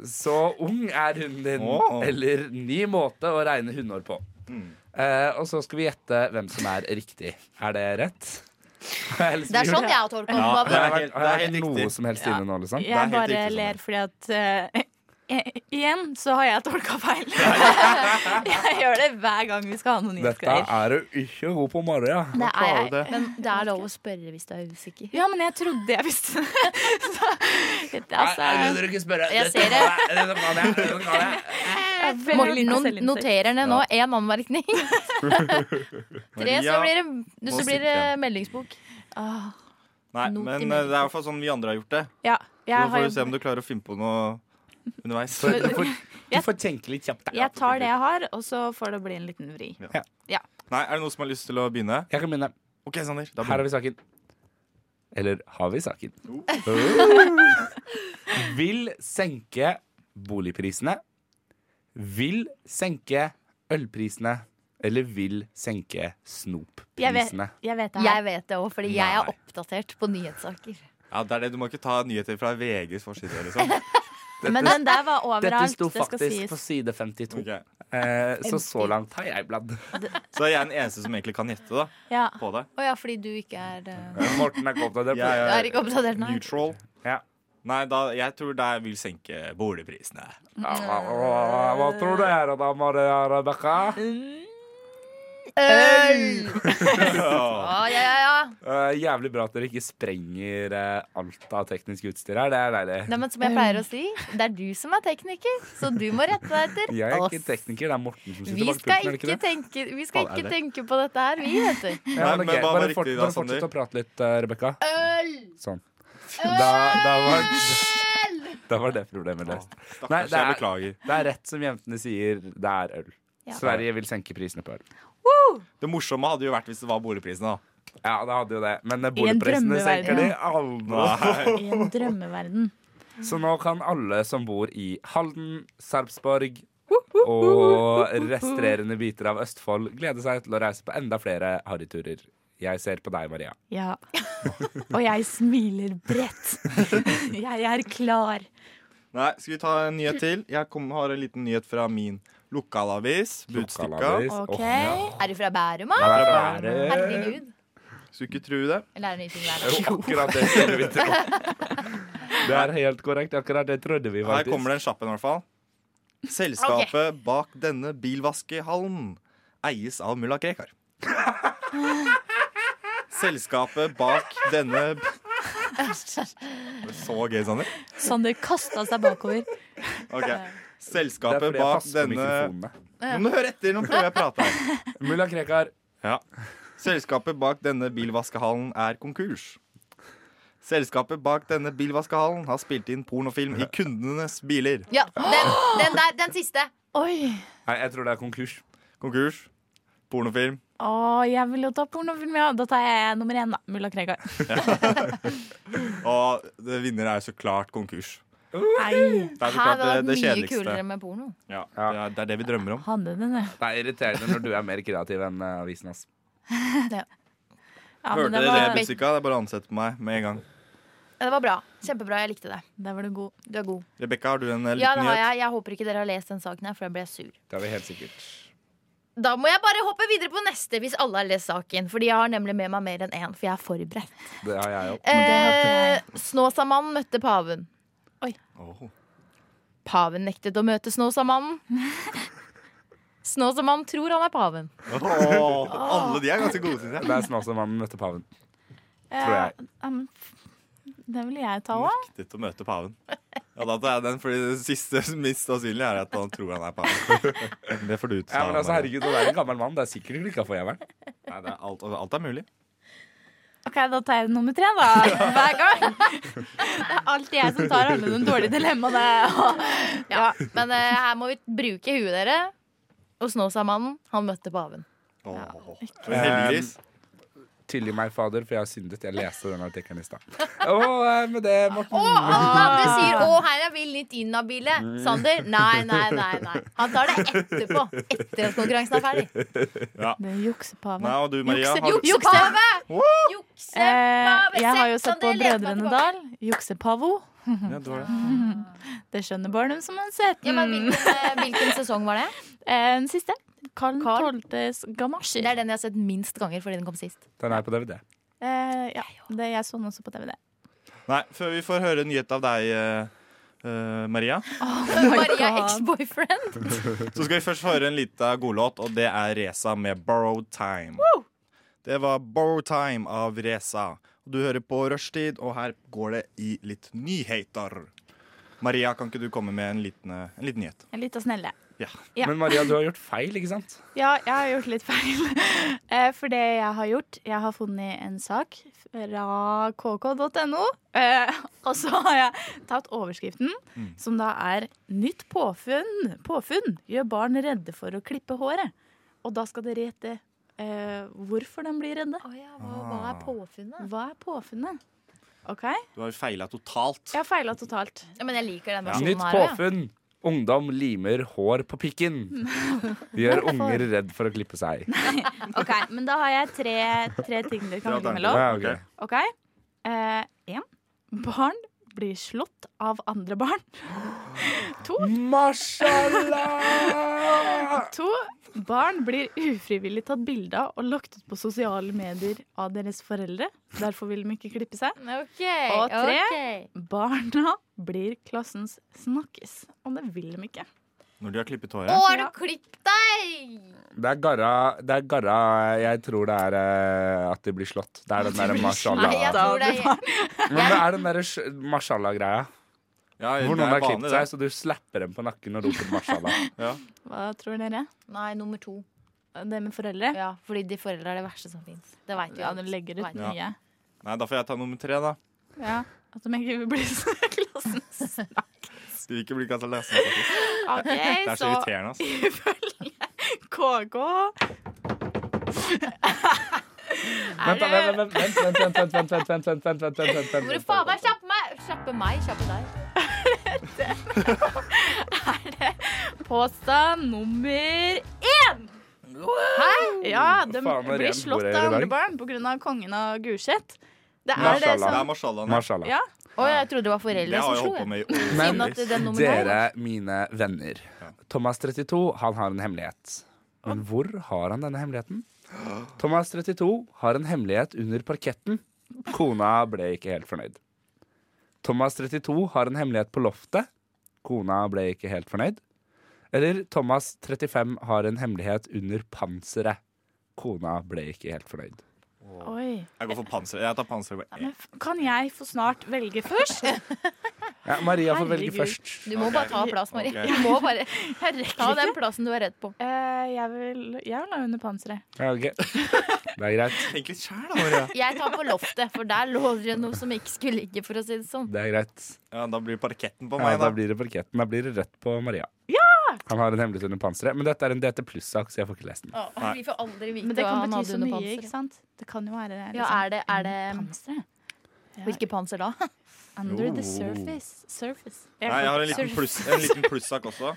[SPEAKER 5] Så ung er hunden din.
[SPEAKER 3] Åh.
[SPEAKER 5] Eller ny måte å regne hundeår på. Eh, og så skal vi gjette hvem som er riktig. Er det rett?
[SPEAKER 4] Det er sånn jeg har tolka oppgaven.
[SPEAKER 3] det er
[SPEAKER 5] Har
[SPEAKER 3] helt-
[SPEAKER 5] jeg vært- har
[SPEAKER 3] det er
[SPEAKER 5] jeg vært
[SPEAKER 3] helt riktig.
[SPEAKER 5] noe som helst inne nå, liksom?
[SPEAKER 3] er helt
[SPEAKER 7] Jeg bare
[SPEAKER 3] riktig, Sander.
[SPEAKER 7] ler fordi at eh, eh, Igjen så har jeg tolka feil. jeg gjør det hver gang vi skal ha noen
[SPEAKER 5] Dette
[SPEAKER 7] nyhetsgreier.
[SPEAKER 5] er du ikke god på, Maria.
[SPEAKER 4] Det er
[SPEAKER 3] klarer
[SPEAKER 4] jeg.
[SPEAKER 3] det.
[SPEAKER 4] Men det er lov å spørre hvis du er usikker.
[SPEAKER 7] Ja, men jeg trodde jeg visste det. Så, det er altså,
[SPEAKER 5] Nei, dere ikke spørre.
[SPEAKER 4] Jeg
[SPEAKER 5] Dette
[SPEAKER 4] ser det.
[SPEAKER 5] kan jeg, dette kan jeg, dette kan jeg.
[SPEAKER 7] jeg er veldig
[SPEAKER 4] Morten
[SPEAKER 7] lite
[SPEAKER 4] no
[SPEAKER 7] selvinnsikt.
[SPEAKER 4] noterer ned nå én anmerkning. Tre, så
[SPEAKER 3] Maria-
[SPEAKER 4] blir det, så
[SPEAKER 3] må
[SPEAKER 4] blir det
[SPEAKER 3] sitte.
[SPEAKER 4] meldingsbok.
[SPEAKER 7] Åh,
[SPEAKER 3] Nei,
[SPEAKER 4] not
[SPEAKER 3] men
[SPEAKER 4] i
[SPEAKER 3] eh, det er i hvert fall sånn vi andre har gjort det.
[SPEAKER 7] Ja,
[SPEAKER 3] Så
[SPEAKER 7] jeg,
[SPEAKER 3] får
[SPEAKER 7] har,
[SPEAKER 3] vi se om du klarer å finne på noe underveis.
[SPEAKER 5] Så Du får, du får tenke litt kjapt. da.
[SPEAKER 7] jeg tar det jeg har, og så får det bli en liten vri.
[SPEAKER 3] Nei, Er det noen som har lyst til å begynne?
[SPEAKER 5] Jeg kan begynne.
[SPEAKER 3] OK, Sander. Da
[SPEAKER 5] Her
[SPEAKER 3] begynner
[SPEAKER 5] har vi saken. Eller har vi saken? Vil senke boligprisene. Vil senke ølprisene. Eller vil senke
[SPEAKER 7] Jeg vet,
[SPEAKER 5] snopprisene.
[SPEAKER 7] jeg vet det her.
[SPEAKER 4] Jeg vet det òg, fordi jeg er
[SPEAKER 5] Nei.
[SPEAKER 4] oppdatert på nyhetssaker.
[SPEAKER 3] Ja, det er det. Du må ikke ta nyheter fra VGs forside. Liksom.
[SPEAKER 7] Men den der var
[SPEAKER 5] Dette
[SPEAKER 7] overalt.
[SPEAKER 5] sto
[SPEAKER 7] Det skal
[SPEAKER 5] faktisk på
[SPEAKER 7] sies.
[SPEAKER 5] side 52.
[SPEAKER 3] Ok.
[SPEAKER 5] Eh, så så langt har jeg bladd.
[SPEAKER 3] Så jeg er den eneste som egentlig kan gjette da,
[SPEAKER 7] Ja.
[SPEAKER 3] på det.
[SPEAKER 4] Å ja, fordi du ikke er eh,
[SPEAKER 5] Morten er ikke opptatt av det.
[SPEAKER 4] Du er ikke oppdatert, nei.
[SPEAKER 3] neutral.
[SPEAKER 5] Ja.
[SPEAKER 3] Nei, da, jeg tror det vil senke boligprisene.
[SPEAKER 5] Ja, Hva, hva, hva tror du er det da, Maria Rebekka?
[SPEAKER 4] Øl!
[SPEAKER 3] Ja.
[SPEAKER 4] Å,
[SPEAKER 5] Ah,
[SPEAKER 4] Ah, ja, ja, ja.
[SPEAKER 5] Eh, jævlig bra at dere ikke sprenger eh, alt av teknisk utstyr her. Det er deilig.
[SPEAKER 4] Nei, men som jeg pleier å si, det er du som er tekniker, så du må rette deg etter
[SPEAKER 5] Jeg er
[SPEAKER 4] oss.
[SPEAKER 5] ikke tekniker, det er Morten som sitter
[SPEAKER 4] Vi
[SPEAKER 5] bak
[SPEAKER 4] skal
[SPEAKER 5] pulten. er det
[SPEAKER 4] ikke
[SPEAKER 5] ikke det?
[SPEAKER 4] tenke, vi skal
[SPEAKER 5] Faen, er
[SPEAKER 4] ikke
[SPEAKER 5] det?
[SPEAKER 4] tenke på dette her, vi, vet du.
[SPEAKER 5] Ja, men
[SPEAKER 3] Nei, men
[SPEAKER 5] ok,
[SPEAKER 3] hva var
[SPEAKER 5] bare
[SPEAKER 3] riktig
[SPEAKER 5] fort,
[SPEAKER 3] da,
[SPEAKER 5] bare
[SPEAKER 3] Sander?
[SPEAKER 5] fortsett å prate litt, uh, Rebekka.
[SPEAKER 4] Øl!
[SPEAKER 5] Sånn. Da, da, var, da var det problemet løst. Nei,
[SPEAKER 3] Stakkars,
[SPEAKER 5] det
[SPEAKER 3] jeg
[SPEAKER 5] er-
[SPEAKER 3] beklager.
[SPEAKER 5] Det er rett som jentene sier, det er øl.
[SPEAKER 4] Ja.
[SPEAKER 5] Sverige vil senke prisene på øl.
[SPEAKER 3] Det morsomme hadde jo vært hvis det var boligprisene, da.
[SPEAKER 5] Ja, det hadde jo det, men eh,
[SPEAKER 7] I en
[SPEAKER 5] boligprisene senker de
[SPEAKER 7] drømmeverden.
[SPEAKER 5] aldri.
[SPEAKER 3] Nei.
[SPEAKER 7] I en drømmeverden.
[SPEAKER 5] Så nå kan alle som bor i Halden, Sarpsborg og restrerende biter av Østfold glede seg til å reise på enda flere harryturer. Jeg ser på deg, Maria.
[SPEAKER 7] Ja. Og jeg smiler bredt. Jeg er klar.
[SPEAKER 3] Nei, skal vi ta en nyhet til? Jeg kom, har en liten nyhet fra min lokalavis, Budstikka.
[SPEAKER 5] Lokalavis.
[SPEAKER 7] Ok.
[SPEAKER 5] Åh, ja.
[SPEAKER 4] Er du fra Bærum, da?
[SPEAKER 5] Ja, det er bare-
[SPEAKER 4] Herregud.
[SPEAKER 3] Skulle ikke tro det.
[SPEAKER 4] Lærer nye ting hver
[SPEAKER 5] Det er
[SPEAKER 4] dag.
[SPEAKER 5] jo akkurat det skulle vi tro. Det er helt korrekt. Akkurat det trodde vi
[SPEAKER 3] Her
[SPEAKER 5] faktisk.
[SPEAKER 3] kommer det en kjapp en, i hvert fall. Selskapet bak denne bilvaskehallen eies av mulla Krekar. Selskapet bak denne Så gøy, Sander.
[SPEAKER 6] Sander kasta seg bakover.
[SPEAKER 3] Ok.
[SPEAKER 5] Det er
[SPEAKER 3] Selskapet
[SPEAKER 5] fordi jeg
[SPEAKER 3] bak
[SPEAKER 5] passer på
[SPEAKER 3] denne
[SPEAKER 5] mikrofonene.
[SPEAKER 3] Nå må du høre etter, nå prøver jeg å prate her.
[SPEAKER 5] Mulla Krekar.
[SPEAKER 3] Selskapet bak denne bilvaskehallen er konkurs. Selskapet bak denne bilvaskehallen har spilt inn pornofilm i kundenes biler.
[SPEAKER 4] Ja, den, den der, den siste.
[SPEAKER 7] Oi.
[SPEAKER 5] Nei, jeg tror det er konkurs.
[SPEAKER 3] Konkurs. Pornofilm.
[SPEAKER 7] Å, jeg vil jo ta pornofilm, ja. Da tar jeg nummer én, da. Mulla Krekar.
[SPEAKER 3] Og det vinner er så klart konkurs.
[SPEAKER 7] Nei,
[SPEAKER 3] Det er så
[SPEAKER 4] Her
[SPEAKER 3] klart det,
[SPEAKER 4] var det
[SPEAKER 3] det
[SPEAKER 4] mye
[SPEAKER 3] kjedeligste.
[SPEAKER 4] kulere med porno.
[SPEAKER 3] Ja, det, er, det er det vi drømmer om.
[SPEAKER 7] hadde den det.
[SPEAKER 5] Det er irriterende når du er mer kreativ enn eh, avisen. ass.
[SPEAKER 7] Ja, men
[SPEAKER 3] Hørte
[SPEAKER 7] det
[SPEAKER 3] dere det,
[SPEAKER 7] var,
[SPEAKER 3] Budstikka? Det er bare å ansette meg med en gang.
[SPEAKER 4] Ja, det var bra. Kjempebra. Jeg likte det.
[SPEAKER 7] der var du god.
[SPEAKER 4] Du er god.
[SPEAKER 3] Rebekka, har du en eh,
[SPEAKER 4] Ja,
[SPEAKER 3] liten
[SPEAKER 4] det har
[SPEAKER 3] nyhet?
[SPEAKER 4] jeg. Jeg håper ikke dere har lest den saken her, for da blir jeg sur.
[SPEAKER 5] Det er vi helt sikkert.
[SPEAKER 4] Da må jeg bare hoppe videre på neste hvis alle har lest saken. Fordi jeg har nemlig med meg mer enn én, for jeg er forberedt.
[SPEAKER 5] Det har jeg òg.
[SPEAKER 4] Eh, Snåsamannen møtte paven.
[SPEAKER 3] Åh.
[SPEAKER 4] Paven nektet å møte Snåsamannen. Snåsamannen tror han er paven.
[SPEAKER 3] Åh, alle de er ganske gode, syns jeg.
[SPEAKER 5] Det er Snåsamannen møtte paven. Tror jeg.
[SPEAKER 7] Ja, men det ville jeg ta òg.
[SPEAKER 3] Nektet å møte paven. Ja, da tar jeg den, fordi det siste minst sannsynlig er at han tror han er paven. Det får du ta.
[SPEAKER 5] Ja, men altså,
[SPEAKER 3] Maria.
[SPEAKER 5] herregud, det er en gammel mann. Det er sikkert klikka for jævelen.
[SPEAKER 3] Nei, det er alt, alt er mulig.
[SPEAKER 7] OK, da tar jeg nummer tre, da. Hver gang. Det er alltid jeg som tar alle de dårlige dilemmaene.
[SPEAKER 4] Ja, Men eh, her må vi bruke huet dere. Og Snåsamannen, han møtte paven.
[SPEAKER 3] Åh. Men heldigvis.
[SPEAKER 5] Tilgi meg, fader, for jeg har syndet. Jeg leste den artikkelen i stad. Og eh, med det, Morten
[SPEAKER 4] Og alle andre sier 'Å, her er vi litt inhabile'. Sander? Nei, nei, nei. nei Han tar det etterpå. Etter at konkurransen er ferdig.
[SPEAKER 7] Det er
[SPEAKER 3] Nei,
[SPEAKER 7] juksepave.
[SPEAKER 3] og du, Maria? Har du...
[SPEAKER 4] Juksepave!
[SPEAKER 7] Eh,
[SPEAKER 4] Juksepave!
[SPEAKER 7] jeg har jo
[SPEAKER 4] Sett
[SPEAKER 7] sett på
[SPEAKER 4] deg ned,
[SPEAKER 7] Brødrene
[SPEAKER 4] tilbake.
[SPEAKER 7] Dal. Juksepavo.
[SPEAKER 3] Ja, du har det.
[SPEAKER 7] Det skjønner barn dem som har sett
[SPEAKER 4] Ja, men
[SPEAKER 7] den.
[SPEAKER 4] hvilken, eh, hvilken sesong var det?
[SPEAKER 7] Eh, Den siste. Karl
[SPEAKER 4] Karl.
[SPEAKER 7] 12.s gamasjer.
[SPEAKER 4] Det er den jeg har sett minst ganger fordi den kom sist.
[SPEAKER 5] Den er på DVD.
[SPEAKER 7] Eh, ja, det, jeg så den også på DVD.
[SPEAKER 3] Nei, før vi får høre en nyhet av deg, eh, eh, Maria,
[SPEAKER 4] Maria Ex-Boyfriend.
[SPEAKER 3] så skal vi først høre en liten godlåt, og det er Reza med 'Borrowed Time'. Det var 'Borrowed Time' av Reza. Du hører på Rushtid, og her går det i litt nyheter. Maria, kan ikke du komme med en liten, eh, en liten nyhet?
[SPEAKER 7] En liten snelle. Ja.
[SPEAKER 5] Men Maria, du har gjort feil, ikke sant?
[SPEAKER 7] Ja, jeg har gjort litt feil. Eh, For det jeg har gjort Jeg har funnet en sak fra kk.no. eh, Og så har jeg tatt overskriften, som da er 'Nytt påfunn. påfunn gjør barn redde for å klippe håret'. Og da skal dere gjette eh, hvorfor de blir redde.
[SPEAKER 4] hva er påfunnet?
[SPEAKER 7] Hva er påfunnet? OK?
[SPEAKER 3] Du har feila totalt.
[SPEAKER 7] Jeg har feila totalt.
[SPEAKER 4] Ja, men jeg liker den versjonen
[SPEAKER 5] Nytt
[SPEAKER 4] her. også, ja.
[SPEAKER 5] påfunn. Ungdom limer hår på pikken. Gjør unger redd for å klippe seg.
[SPEAKER 7] Ok, Men da har jeg tre, tre ting dere kan velge mellom.
[SPEAKER 5] Ja, ok.
[SPEAKER 7] Ok. Eh, en. Barn blir slått av andre barn. To.
[SPEAKER 5] Mashallah!
[SPEAKER 7] to. Barn blir ufrivillig tatt bilde av og lagt ut på sosiale medier av deres foreldre. Derfor vil de ikke klippe seg.
[SPEAKER 4] Ok,
[SPEAKER 7] Og tre.
[SPEAKER 4] ok.
[SPEAKER 7] Barna blir klassens snakkes, og det vil de ikke.
[SPEAKER 3] Når du har klippet håret.
[SPEAKER 4] Å, har du
[SPEAKER 7] Ja.
[SPEAKER 4] klippet deg?
[SPEAKER 5] Det er garra, det er garra Jeg tror det er eh, at de blir slått. Det er den derre
[SPEAKER 4] Nei, jeg
[SPEAKER 5] mashallah.
[SPEAKER 4] tror det er
[SPEAKER 5] Men det er den derre sj- mashallah-greia.
[SPEAKER 3] Ja,
[SPEAKER 5] Hvor noen
[SPEAKER 3] det er
[SPEAKER 5] har klippet
[SPEAKER 3] vanlig,
[SPEAKER 5] seg, så du slapper dem på nakken og roper mashallah.
[SPEAKER 7] Hva tror dere?
[SPEAKER 4] Nei, nummer to.
[SPEAKER 7] Det med foreldre?
[SPEAKER 4] Ja, fordi de foreldre er det verste som fins. Det veit du.
[SPEAKER 7] Ja, de legger ut
[SPEAKER 4] Nei.
[SPEAKER 7] mye.
[SPEAKER 3] det. Nei, da får jeg ta nummer tre, da.
[SPEAKER 7] Ja. At de ikke vil bli klassens
[SPEAKER 3] Skal vi ikke bli kastet lesen, faktisk?
[SPEAKER 7] Ok,
[SPEAKER 3] Det er så
[SPEAKER 7] så
[SPEAKER 3] irriterende, altså.
[SPEAKER 7] ifølge KK
[SPEAKER 5] Vent, da, vent, vent, vent, vent, vent, vent, vent, vent, vent, vent, vent, vent, vent, vent, vent,
[SPEAKER 4] Hvor
[SPEAKER 5] vent,
[SPEAKER 4] faen
[SPEAKER 5] vent,
[SPEAKER 4] meg kjappe meg? Kjappe meg, kjappe deg.
[SPEAKER 7] Påstand nummer én! Hæ? Ja, de
[SPEAKER 5] Faen, det er
[SPEAKER 7] blir
[SPEAKER 5] rent
[SPEAKER 7] slått
[SPEAKER 5] bordet i
[SPEAKER 7] av andre
[SPEAKER 5] dag.
[SPEAKER 7] barn pga. kongen av Gulset. Det er det
[SPEAKER 5] Mashallah.
[SPEAKER 3] Det
[SPEAKER 7] som
[SPEAKER 3] er mashallah.
[SPEAKER 5] Mashallah.
[SPEAKER 7] ja,
[SPEAKER 4] Og jeg trodde det var
[SPEAKER 3] Det
[SPEAKER 4] foreldre
[SPEAKER 3] har
[SPEAKER 4] som
[SPEAKER 3] jeg
[SPEAKER 4] slo.
[SPEAKER 3] holdt på
[SPEAKER 4] jeg.
[SPEAKER 3] med i
[SPEAKER 5] Men
[SPEAKER 4] Siden at
[SPEAKER 3] årevis.
[SPEAKER 4] den nominalen
[SPEAKER 5] Dere, mine venner. Thomas 32, han har en hemmelighet. Men hvor har han denne hemmeligheten? Thomas 32 har en hemmelighet under parketten. Kona ble ikke helt fornøyd. Thomas 32 har en hemmelighet på loftet. Kona ble ikke helt fornøyd. Eller Thomas 35 har en hemmelighet under panseret. Kona ble ikke helt fornøyd.
[SPEAKER 7] Oi.
[SPEAKER 3] Jeg går for panser. Jeg tar panser.
[SPEAKER 7] Men f- kan jeg få snart velge først?
[SPEAKER 5] Ja, Maria får velge
[SPEAKER 7] Herregud.
[SPEAKER 5] først.
[SPEAKER 4] Du må bare ta plass, Mari.
[SPEAKER 3] Ok.
[SPEAKER 4] Du må bare ta
[SPEAKER 7] ikke.
[SPEAKER 4] den plassen du er redd på.
[SPEAKER 7] Eh, jeg vil Jeg vil ha under panseret.
[SPEAKER 5] Ja, ok. Det er greit.
[SPEAKER 3] Tenk litt sjæl, da, Maria.
[SPEAKER 4] Jeg tar på loftet, for der lå det noe som ikke skulle ligge, for å si det sånn.
[SPEAKER 5] Det er greit.
[SPEAKER 3] Ja, da blir parketten på
[SPEAKER 5] Ja,
[SPEAKER 3] meg,
[SPEAKER 5] da
[SPEAKER 3] da.
[SPEAKER 5] blir det parketten. Da blir det rødt på Maria. Han har en hemmelighet under panseret, men dette er en DT pluss-sak, så jeg får ikke lest den.
[SPEAKER 4] vi får aldri vite
[SPEAKER 7] Men det
[SPEAKER 4] hva
[SPEAKER 7] kan
[SPEAKER 4] han
[SPEAKER 7] bety
[SPEAKER 4] hadde
[SPEAKER 7] så
[SPEAKER 4] under
[SPEAKER 7] mye, ikke
[SPEAKER 4] panseret.
[SPEAKER 7] sant? Det kan jo være liksom,
[SPEAKER 4] Ja, eh, er det, er det
[SPEAKER 7] panseret.
[SPEAKER 4] Hvilket panser da?
[SPEAKER 7] Under
[SPEAKER 3] Jo.
[SPEAKER 7] the surface. surface.
[SPEAKER 3] Nei, jeg har en liten, pluss, en liten plussak også.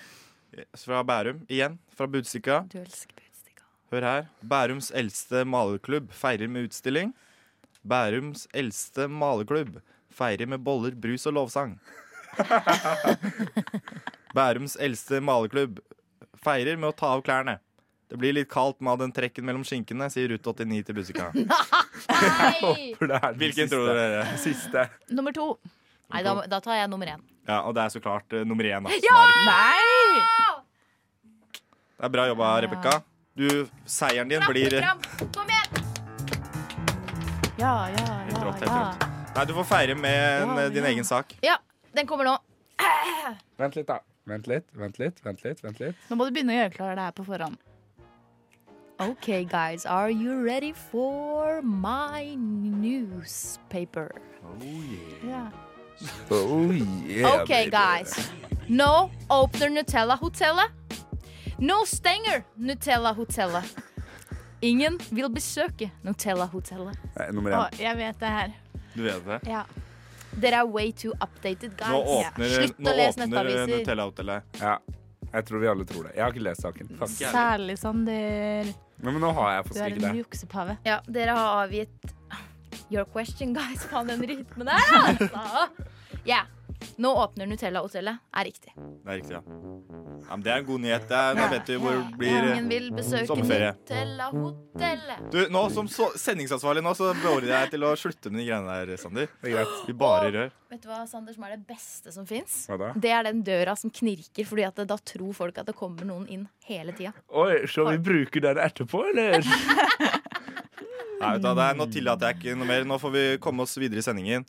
[SPEAKER 3] Fra Bærum. Igjen, fra Budstikka.
[SPEAKER 4] Du elsker Budstikka.
[SPEAKER 3] Hør her. Bærums eldste malerklubb feirer med utstilling. Bærums eldste malerklubb feirer med boller, brus og lovsang. Bærums eldste malerklubb feirer med å ta av klærne. Det blir litt kaldt med all den trekken mellom skinkene, sier Rute 89 til Bussika.
[SPEAKER 5] For det er den
[SPEAKER 3] Hvilken
[SPEAKER 5] siste.
[SPEAKER 3] tror dere?
[SPEAKER 5] Siste.
[SPEAKER 7] Nummer to.
[SPEAKER 4] Nei, da, da tar jeg nummer én.
[SPEAKER 3] Ja, og det er så klart eh, nummer én. Da. som er-
[SPEAKER 7] Nei!
[SPEAKER 3] Det er bra jobba, Rebekka. Du, Seieren din blir eh,
[SPEAKER 4] Fram, Kom igjen!
[SPEAKER 7] Ja, ja,
[SPEAKER 3] Helt
[SPEAKER 7] ja.
[SPEAKER 3] rått, helt
[SPEAKER 7] ja.
[SPEAKER 3] rått. Nei, du får feire med en,
[SPEAKER 7] Ja,
[SPEAKER 3] eh, din
[SPEAKER 7] ja.
[SPEAKER 3] egen sak.
[SPEAKER 4] Ja, den kommer nå.
[SPEAKER 5] Vent litt, da. Vent litt, vent litt, vent litt. vent litt
[SPEAKER 7] Nå må du begynne å gjøre klar det her på forhånd.
[SPEAKER 4] OK, guys, are you ready for my newspaper?
[SPEAKER 7] Ja.
[SPEAKER 5] Oh, yeah,
[SPEAKER 4] OK, guys. No opener Nutella hotellet. No stenger Nutella hotellet. Ingen vil besøke Nutella hotellet.
[SPEAKER 5] Nei, nummer
[SPEAKER 7] Å,
[SPEAKER 5] én.
[SPEAKER 7] jeg vet det her.
[SPEAKER 3] Du vet det.
[SPEAKER 4] Dere er way too updated, guys.
[SPEAKER 3] Nå åpner,
[SPEAKER 4] Slutt
[SPEAKER 3] nå
[SPEAKER 4] å lese
[SPEAKER 3] åpner eh,
[SPEAKER 4] nettaviser.
[SPEAKER 3] Nutella-hotellet.
[SPEAKER 5] Ja. Jeg tror vi alle tror det. Jeg har ikke lest saken. Fuck.
[SPEAKER 7] Særlig Sander.
[SPEAKER 5] Nei, Men nå har jeg
[SPEAKER 7] Du
[SPEAKER 5] faktisk
[SPEAKER 7] er
[SPEAKER 5] ikke
[SPEAKER 7] en
[SPEAKER 5] det.
[SPEAKER 7] juksepave.
[SPEAKER 4] Ja, dere har avgitt Your question, guys. Faen, den rytmen der, altså. Yeah. Nå åpner Nutella hotellet, er riktig.
[SPEAKER 3] Det er riktig, ja. ja men det er en god nyhet. Det er, nå vet vi hvor det blir
[SPEAKER 4] Ingen vil
[SPEAKER 5] eh,
[SPEAKER 4] besøke
[SPEAKER 3] Sommerferie.
[SPEAKER 4] Nutella hotellet.
[SPEAKER 3] Du, nå Som så, sendingsansvarlig nå, så beordrer jeg deg til å slutte med de greiene der, Sander.
[SPEAKER 5] Det er greit.
[SPEAKER 3] Vi bare rør.
[SPEAKER 4] Vet du hva, Sander, som er det beste som fins?
[SPEAKER 5] Hva da?
[SPEAKER 4] Det er den døra som knirker, Fordi at det, da tror folk at det kommer noen inn hele tida.
[SPEAKER 5] Oi, så vi bruker den etterpå, eller?
[SPEAKER 3] Nei, vet du, hva, det er, nå tillater jeg ikke noe mer. Nå får vi komme oss videre i sendingen.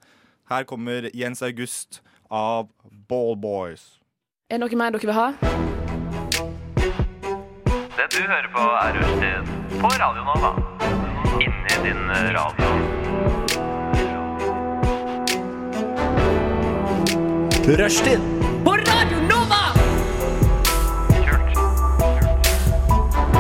[SPEAKER 3] Her kommer Jens August av Ball Boys.
[SPEAKER 8] Er det noe mer dere vil ha?
[SPEAKER 9] Det du hører på er Rushtid på Radio Nova. Inni din eh, radio. Rushtid på Radio Nova!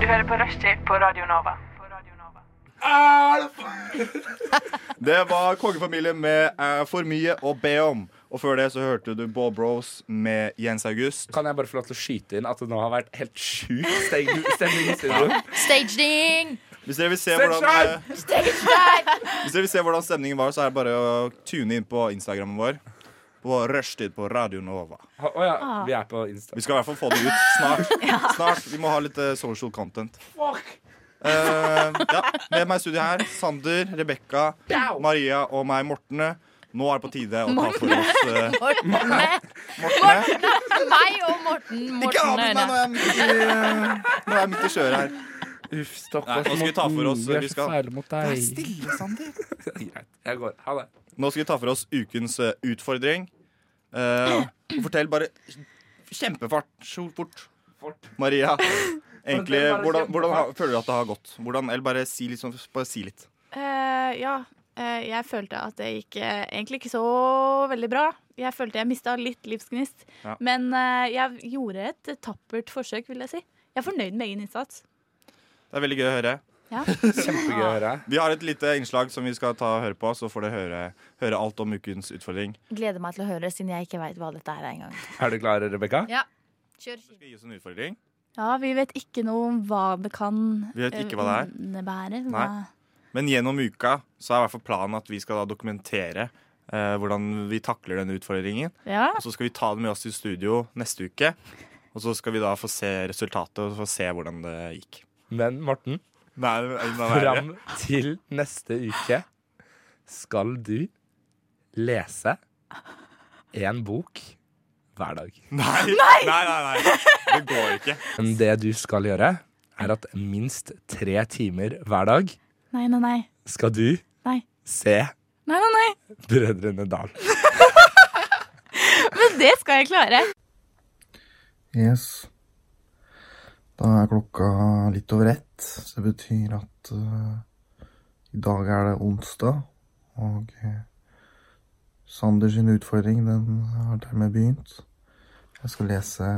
[SPEAKER 10] Du hører på Rushtid på Radio Nova. På Radio Nova.
[SPEAKER 3] Det var kongefamilien med eh, For mye å be om. Og før det så hørte du Ball Bros med Jens August.
[SPEAKER 5] Kan jeg bare få lov til å skyte inn at det nå har vært helt sjuk stemning stemning i studio?
[SPEAKER 4] Staging!
[SPEAKER 3] Hvis dere vil se
[SPEAKER 5] Stage
[SPEAKER 3] hvordan,
[SPEAKER 5] dive!
[SPEAKER 3] eh, Hvis dere vil se hvordan stemningen var, så er det bare å tune inn på Instagrammen vår. På rushtid på Radio Nova.
[SPEAKER 5] Å ja, vi er på Insta.
[SPEAKER 3] Vi skal i hvert fall få det ut snart. snart. Vi må ha litt eh, social content. Eh, ja, med meg i studio her, Sander, Rebekka, Maria og meg, Mortene. Nå er det på tide å ta for oss eh, Mortene.
[SPEAKER 4] Meg og Morten.
[SPEAKER 3] Ikke
[SPEAKER 4] Morten
[SPEAKER 3] avbryt meg, nå er jeg midt i, eh, nå er jeg midt i kjøret her.
[SPEAKER 5] Uff,
[SPEAKER 3] Nei,
[SPEAKER 5] stakkars.
[SPEAKER 3] nå skal vi ta for
[SPEAKER 5] Morten,
[SPEAKER 3] oss-
[SPEAKER 5] vi er
[SPEAKER 3] vi
[SPEAKER 5] så
[SPEAKER 3] skal-
[SPEAKER 5] fæle mot deg.
[SPEAKER 3] Sander.
[SPEAKER 5] Greit. Jeg går. Ha det.
[SPEAKER 3] Nå skal vi ta for oss ukens eh, utfordring. Eh, og fortell bare kjempefart, så fort.
[SPEAKER 5] Fort.
[SPEAKER 3] Maria, egentlig,
[SPEAKER 5] Fortell bare
[SPEAKER 3] hvordan, hvordan har,
[SPEAKER 5] kjempefart.
[SPEAKER 3] føler du at det har gått? Hvordan, eller bare si litt. Sånn, bare si litt.
[SPEAKER 7] Eh, ja, eh, jeg følte at det gikk eh, egentlig ikke så veldig bra. Jeg følte jeg mista litt livsgnist.
[SPEAKER 3] Ja.
[SPEAKER 7] Men eh, jeg gjorde et tappert forsøk, vil jeg si. Jeg er fornøyd med egen innsats.
[SPEAKER 3] Det er veldig gøy å høre.
[SPEAKER 5] Kjempegøy å høre.
[SPEAKER 3] Vi har et lite innslag som vi skal ta og høre på, så får dere høre, høre alt om ukens utfordring.
[SPEAKER 4] Gleder meg til å høre, siden jeg ikke veit hva dette er engang.
[SPEAKER 5] Er du klar, Rebekka?
[SPEAKER 4] Ja. Kjør.
[SPEAKER 3] Du skal gi oss en utfordring.
[SPEAKER 8] Ja, vi vet ikke noe om hva det kan eh,
[SPEAKER 3] Vi vet ikke hva det er.
[SPEAKER 8] innebære.
[SPEAKER 3] Nei. Men gjennom uka så er i hvert fall planen at vi skal da dokumentere eh, hvordan vi takler denne utfordringen.
[SPEAKER 8] Ja.
[SPEAKER 3] Og så skal vi ta det med oss til studio neste uke. Og så skal vi da få se resultatet og få se hvordan det gikk.
[SPEAKER 5] Men Morten,
[SPEAKER 3] Nei, nei, nei, nei.
[SPEAKER 5] fram til neste uke skal du lese en bok hver dag.
[SPEAKER 3] Nei, nei, nei, nei. Det går ikke.
[SPEAKER 5] Men det du skal gjøre, er at minst tre timer hver dag
[SPEAKER 8] Nei, nei, nei.
[SPEAKER 5] skal du
[SPEAKER 8] Nei.
[SPEAKER 5] se
[SPEAKER 8] Nei, nei, nei.
[SPEAKER 5] Brødrene Dal.
[SPEAKER 8] Men det skal jeg klare.
[SPEAKER 11] Yes. Da er klokka litt over ett, så det betyr at eh, i dag er det onsdag, og eh, Sander sin utfordring, den har dermed begynt. Jeg skal lese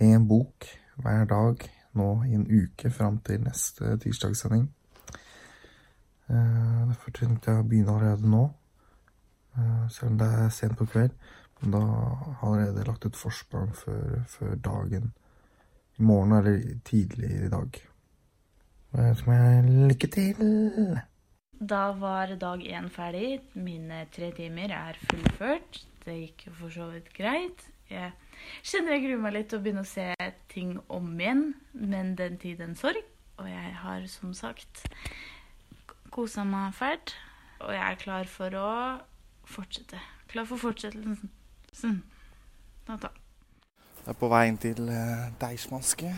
[SPEAKER 11] én bok hver dag nå i en uke fram til neste tirsdagssending. Eh, Derfor tenkte jeg å begynne allerede nå, eh, selv om det er sent på kveld. Men Da har jeg allerede lagt ut forsprang før, før dagen. I morgen eller tidlig i dag. Da ønsker jeg lykke til!
[SPEAKER 7] Da var dag én ferdig. Mine tre timer er fullført. Det gikk jo for så vidt greit. Jeg kjenner jeg gruer meg litt til å begynne å se ting om igjen, men den tid, den sorg. Og jeg har som sagt kosa meg fælt. Og jeg er klar for å fortsette. Klar for fortsettelsen. Sånn. Da, da.
[SPEAKER 11] Jeg er på veien til eh, Deichmanske.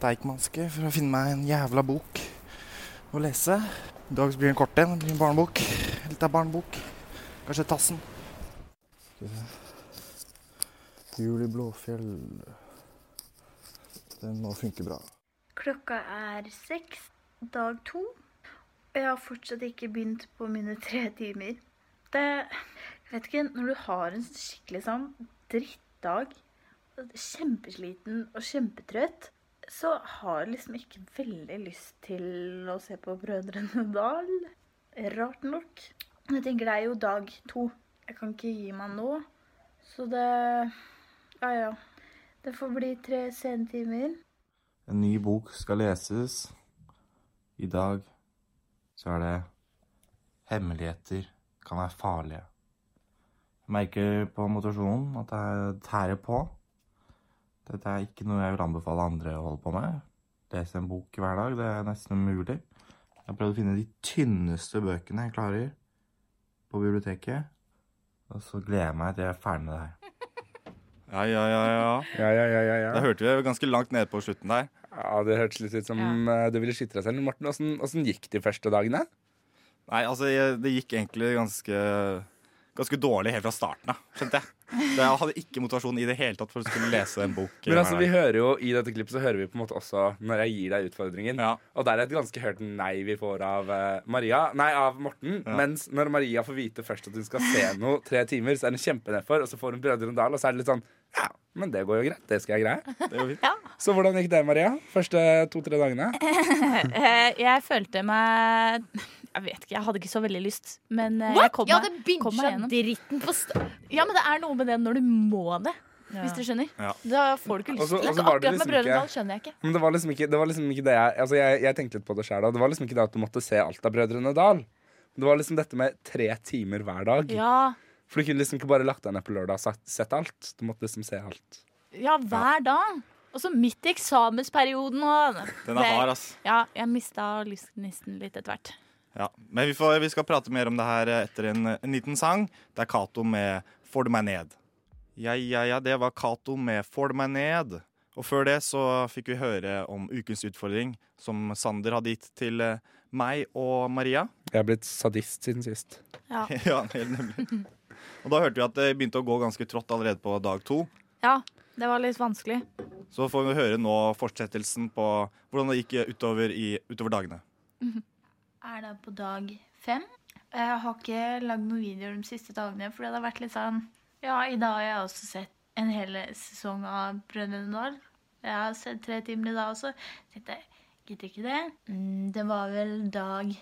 [SPEAKER 11] Deichmanske for å finne meg en jævla bok å lese. I dag så blir det en kort en. Det blir en barnebok. Litt av barnebok. Kanskje Tassen. Skal vi se. Jul i Blåfjell. Den må funke bra.
[SPEAKER 7] Klokka er seks, dag to. Og jeg har fortsatt ikke begynt på mine tre timer. Det Jeg vet ikke, når du har en sånn skikkelig sånn drittdag, kjempesliten og kjempetrøtt, så har jeg liksom ikke veldig lyst til å se på Brødrene Dal. Rart nok. Men Jeg tenker det er jo dag to. Jeg kan ikke gi meg nå. Så det Ja, ja. Det får bli tre sene timer.
[SPEAKER 11] En ny bok skal leses. I dag så er det Hemmeligheter kan være farlige. Jeg merker på motivasjonen at jeg tærer på. Dette er ikke noe jeg vil anbefale andre å holde på med. Lese en bok hver dag, det er nesten umulig. Jeg har prøvd å finne de tynneste bøkene jeg klarer på biblioteket. Og så gleder jeg meg til jeg er ferdig med det her.
[SPEAKER 3] Ja, ja, ja, ja.
[SPEAKER 5] Ja, ja, ja, ja,
[SPEAKER 3] Da hørte vi det ganske langt nede på slutten der.
[SPEAKER 5] Ja, Det hørtes litt ut som eh, du ville skyte deg selv. Morten, hvordan, hvordan gikk de første dagene?
[SPEAKER 3] Nei, altså, jeg, det gikk egentlig ganske Ganske dårlig helt fra starten av, skjønte jeg. Så jeg hadde ikke motivasjon i det hele tatt for å skulle lese en bok.
[SPEAKER 5] Men altså,
[SPEAKER 3] hver
[SPEAKER 5] vi
[SPEAKER 3] dag.
[SPEAKER 5] hører jo I dette klippet så hører vi på en måte også når jeg gir deg utfordringen.
[SPEAKER 3] Ja.
[SPEAKER 5] Og det er et ganske hørt nei vi får av eh, Maria Nei, av Morten. Mens når Maria får vite først at hun skal se noe tre timer, så er hun kjempenedfor, og så får hun Brødrene Dal, og så er det litt sånn Ja, men det går jo greit. Det skal jeg greie.
[SPEAKER 3] Det går fint.
[SPEAKER 5] Så hvordan gikk det, Maria? Første to-tre dagene?
[SPEAKER 8] Eh, Jeg følte meg Jeg vet ikke, jeg hadde ikke så veldig lyst. Men eh, jeg
[SPEAKER 4] What?
[SPEAKER 8] kom
[SPEAKER 4] Ja,
[SPEAKER 8] meg,
[SPEAKER 4] det
[SPEAKER 8] kom meg
[SPEAKER 4] binsja
[SPEAKER 8] gjennom.
[SPEAKER 4] dritten på st...
[SPEAKER 8] Ja, men det er noe med det når du må det. Hvis du skjønner.
[SPEAKER 3] Ja.
[SPEAKER 8] Da får du ikke lyst.
[SPEAKER 5] Og så- og så var det
[SPEAKER 4] Akkurat med
[SPEAKER 5] liksom
[SPEAKER 4] Brødrene
[SPEAKER 5] ikke-
[SPEAKER 4] Dal skjønner jeg ikke.
[SPEAKER 5] Men det var liksom ikke det, var liksom ikke det jeg, altså jeg Jeg tenkte litt på det sjæl. Det var liksom ikke det at du måtte se alt av Brødrene Dal. Det var liksom dette med tre timer hver dag.
[SPEAKER 8] Ja,
[SPEAKER 5] For du kunne liksom ikke bare lagt deg ned på lørdag og sagt- sett alt. Du måtte liksom se alt.
[SPEAKER 8] ja, hver dag. Og så midt i eksamensperioden og
[SPEAKER 3] Den er hard, ass.
[SPEAKER 8] Ja, jeg mista lystgnisten litt etter hvert.
[SPEAKER 3] Ja. Men vi, får, vi skal prate mer om det her etter en, en liten sang. Det er Cato med 'Får du meg ned'. Ja, ja, ja, det var Cato med 'Får du meg ned'. Og før det så fikk vi høre om ukens utfordring som Sander hadde gitt til eh, meg og Maria.
[SPEAKER 5] Jeg er blitt sadist siden sist.
[SPEAKER 3] ja, helt nemlig. Og da hørte vi at det begynte å gå ganske trått allerede på dag to.
[SPEAKER 8] Ja, det var litt vanskelig.
[SPEAKER 3] Så får vi høre nå fortsettelsen på hvordan det gikk utover, i, utover dagene.
[SPEAKER 7] er da på dag fem. Jeg har ikke lagd noen videoer de siste dagene, fordi det har vært litt sånn Ja, i dag har jeg også sett en hel sesong av Brønnøyene Dal. Jeg har sett tre timer i dag også. Tenkte jeg gidder ikke det. Mm, Det var vel dag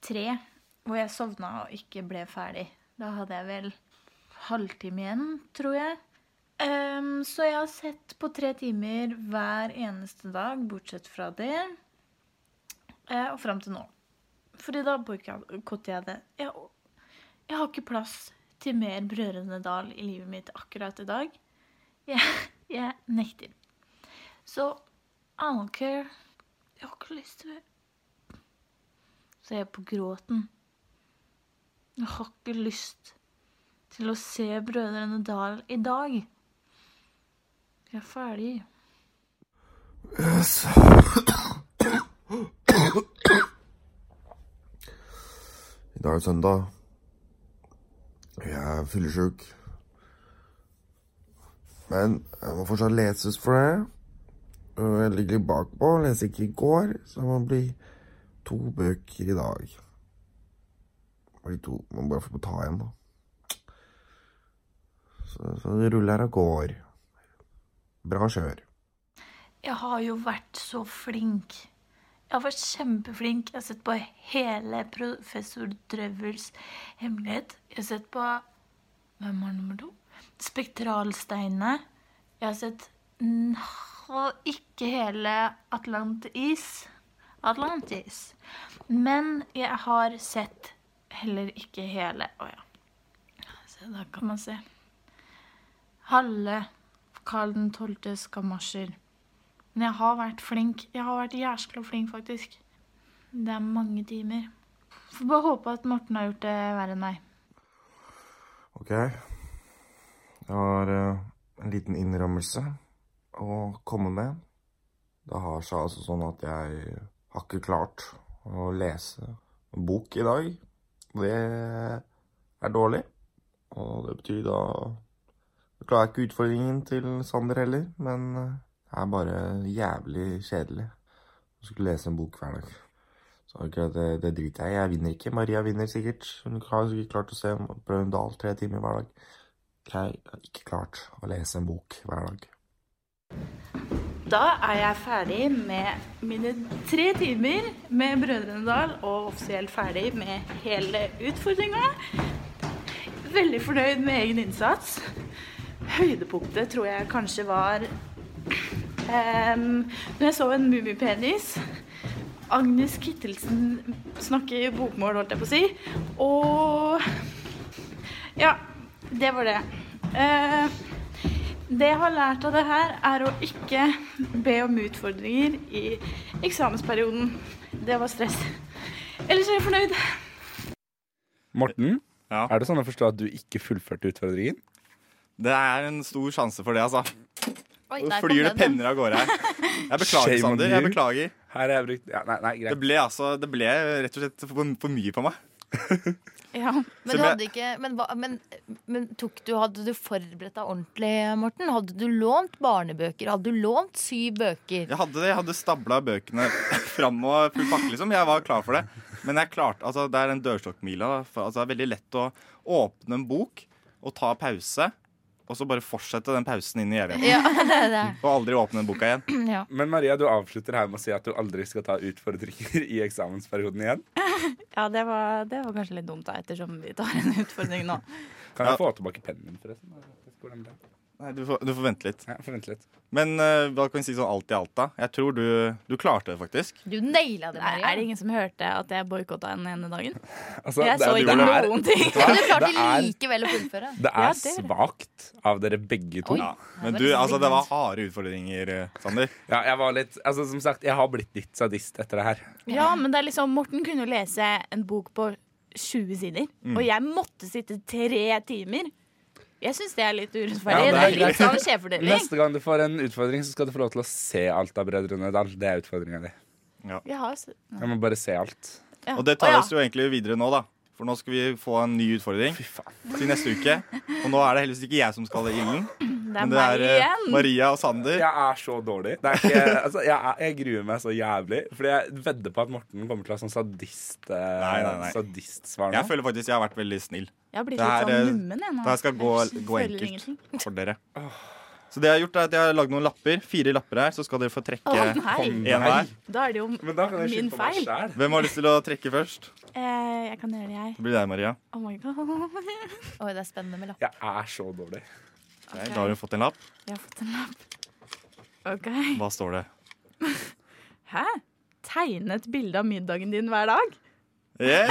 [SPEAKER 7] tre hvor jeg sovna og ikke ble ferdig. Da hadde jeg vel halvtime igjen, tror jeg. Ehm, så jeg har sett på tre timer hver eneste dag, bortsett fra det. Eh, og fram til nå. Fordi da boikotter jeg det. Jeg, jeg har ikke plass til mer Brødrene Dal i livet mitt akkurat i dag. Jeg, jeg nekter. Så I don't care. Jeg har ikke lyst til det. Så jeg er på gråten. Jeg har ikke lyst til å se Brødrene Dal i dag. Jeg er ferdig.
[SPEAKER 11] Yes. I dag er søndag. Jeg er fyllesyk. Men jeg må fortsatt leses for det. Og Jeg ligger litt bakpå, leser ikke i går, så det må bli to bøker i dag. Blir to. Man må bare få ta igjen, da. Så, så det ruller og går. Bra kjør.
[SPEAKER 7] Jeg har jo vært så flink. Jeg har vært kjempeflink. Jeg har sett på hele professor Drøvels hemmelighet. Jeg har sett på Hvem var nummer to? Spektralsteinene. Jeg har sett n- og ikke hele Atlantis. Atlantis. Men jeg har sett heller ikke hele Å ja. Se, da kan man se. Halve Karl 12.s gamasjer. Men jeg har vært flink. Jeg har vært jæskla flink, faktisk. Det er mange timer. Får bare håpe at Morten har gjort det verre enn meg.
[SPEAKER 11] Ok. Jeg har eh, en liten innrømmelse å komme med. Det har seg altså sånn at jeg har ikke klart å lese en bok i dag. Det er dårlig. Og det betyr da Jeg klarer ikke utfordringen til Sander heller, men eh, det er bare jævlig kjedelig å skulle lese en bok hver dag. Så akkurat det, det driter jeg i. Jeg vinner ikke. Maria vinner sikkert. Hun har sikkert klart å se Brønnøy Dal tre timer hver dag. Jeg har ikke klart å lese en bok hver dag.
[SPEAKER 7] Da er jeg ferdig med mine tre timer med Brødrene Dal, og offisielt ferdig med hele utfordringa. Veldig fornøyd med egen innsats. Høydepunktet tror jeg kanskje var um, når jeg så en mummipenis. Agnes Kittelsen snakke bokmål, holdt jeg på å si. Og ja, det var det. Eh, det jeg har lært av det her, er å ikke be om utfordringer i eksamensperioden. Det var stress. Ellers er jeg fornøyd.
[SPEAKER 5] Morten, er det sånn å forstå at du ikke fullførte utfordringen?
[SPEAKER 3] Det er en stor sjanse for det, altså.
[SPEAKER 4] Oi,
[SPEAKER 3] Nå
[SPEAKER 4] der kom
[SPEAKER 3] flyr det
[SPEAKER 4] den, ja.
[SPEAKER 3] penner av gårde her. Jeg beklager,
[SPEAKER 5] Shame on
[SPEAKER 3] Sander. Jeg
[SPEAKER 5] you.
[SPEAKER 3] beklager.
[SPEAKER 5] Her er jeg brukt, ja, nei, nei, greit.
[SPEAKER 3] Det ble, altså, det ble rett og slett for, for mye på meg.
[SPEAKER 4] Men, du hadde ikke, men, hva- men, men tok du, hadde du forberedt deg ordentlig, Morten? Hadde du lånt barnebøker? Hadde du lånt syv bøker?
[SPEAKER 3] Jeg hadde, det, jeg hadde stabla bøkene fram og full pakke, liksom. Jeg var klar for det. Men jeg klarte, altså, det er den dørstokkmila. da. For, Altså, det er veldig lett å åpne en bok og ta pause, og så bare fortsette den pausen inn i evigheten.
[SPEAKER 4] Ja, det er det.
[SPEAKER 3] Og aldri åpne den boka igjen.
[SPEAKER 4] Ja.
[SPEAKER 5] Men Maria, du avslutter her med å si at du aldri skal ta utfordringer i eksamensperioden igjen.
[SPEAKER 12] Ja, det var, det var kanskje litt dumt, da, ettersom vi tar en utfordring nå.
[SPEAKER 5] Kan jeg få tilbake pennen min, forresten? Jeg vet ikke hvordan det er.
[SPEAKER 3] Nei, du får, du får vente litt.
[SPEAKER 5] Ja, får vente litt.
[SPEAKER 3] Men eh, hva kan vi si sånn alt i alt, da? Jeg tror du, du klarte det, faktisk.
[SPEAKER 4] Du naila det,
[SPEAKER 12] Maria. Er det ingen som hørte at jeg boikotta den ene dagen?
[SPEAKER 5] Altså,
[SPEAKER 12] jeg
[SPEAKER 5] det er-
[SPEAKER 12] så
[SPEAKER 5] det
[SPEAKER 12] ikke
[SPEAKER 5] er-
[SPEAKER 12] noen ting.
[SPEAKER 5] Vet du hva? Men du klarte Det er-
[SPEAKER 4] likevel å fullføre.
[SPEAKER 5] Det er svakt av dere begge to.
[SPEAKER 4] Oi. Ja,
[SPEAKER 3] Men du, altså, det var harde utfordringer, eh, Sander.
[SPEAKER 5] Ja, jeg var litt Altså, som sagt, jeg har blitt litt sadist etter det her.
[SPEAKER 12] Ja, men det er liksom Morten kunne jo lese en bok på 20 sider,
[SPEAKER 5] Mm.
[SPEAKER 12] og jeg måtte sitte tre timer. Jeg syns det er litt
[SPEAKER 5] Ja,
[SPEAKER 12] urettferdig. det
[SPEAKER 5] det er
[SPEAKER 12] er litt
[SPEAKER 5] greit.
[SPEAKER 12] sånn skjevfordeling.
[SPEAKER 5] Neste gang du får en utfordring, så skal du få lov til å se alt av Brødrene Dal. Det er utfordringa di.
[SPEAKER 12] Jeg har s-
[SPEAKER 5] Jeg må bare se alt.
[SPEAKER 12] Ja.
[SPEAKER 3] Og det tar
[SPEAKER 12] Å, ja.
[SPEAKER 3] oss jo egentlig videre nå, da. For nå skal vi få en ny utfordring til neste uke. Og nå er det heldigvis ikke jeg som skal i ilden.
[SPEAKER 12] Det er
[SPEAKER 3] Men
[SPEAKER 12] meg
[SPEAKER 3] eh,
[SPEAKER 12] igjen.
[SPEAKER 3] Maria og Sander.
[SPEAKER 5] Jeg er så dårlig. Det er ikke, altså, jeg, er- jeg gruer meg så jævlig. Fordi jeg vedder på at Morten kommer til å ha sånn sadist, eh,
[SPEAKER 3] Nei, nei, nei.
[SPEAKER 5] sadistsvar nå.
[SPEAKER 3] Jeg føler faktisk jeg har vært veldig snill.
[SPEAKER 12] Jeg har blitt
[SPEAKER 3] Det
[SPEAKER 12] litt
[SPEAKER 3] her,
[SPEAKER 12] sånn
[SPEAKER 3] eh,
[SPEAKER 12] nummen, jeg nå.
[SPEAKER 3] Det her skal gå,
[SPEAKER 12] Jeg
[SPEAKER 3] gå
[SPEAKER 12] føler ingenting.
[SPEAKER 3] enkelt for dere. Så det jeg har gjort er at jeg har lagd noen lapper. Fire lapper her, så skal dere få trekke
[SPEAKER 12] Å,
[SPEAKER 3] en
[SPEAKER 12] nei.
[SPEAKER 3] hver.
[SPEAKER 12] Da er det jo min feil.
[SPEAKER 3] Hvem har lyst til å trekke først?
[SPEAKER 12] Eh, jeg kan gjøre det, jeg.
[SPEAKER 3] Det blir deg, Maria.
[SPEAKER 12] Oh my god.
[SPEAKER 4] Oi, det er spennende med lapp.
[SPEAKER 5] Jeg er så dårlig.
[SPEAKER 3] Ok, Da har hun fått en lapp.
[SPEAKER 7] Jeg har fått en lapp. OK.
[SPEAKER 3] Hva står det?
[SPEAKER 7] Hæ? Tegne et bilde av middagen din hver dag?
[SPEAKER 5] Det er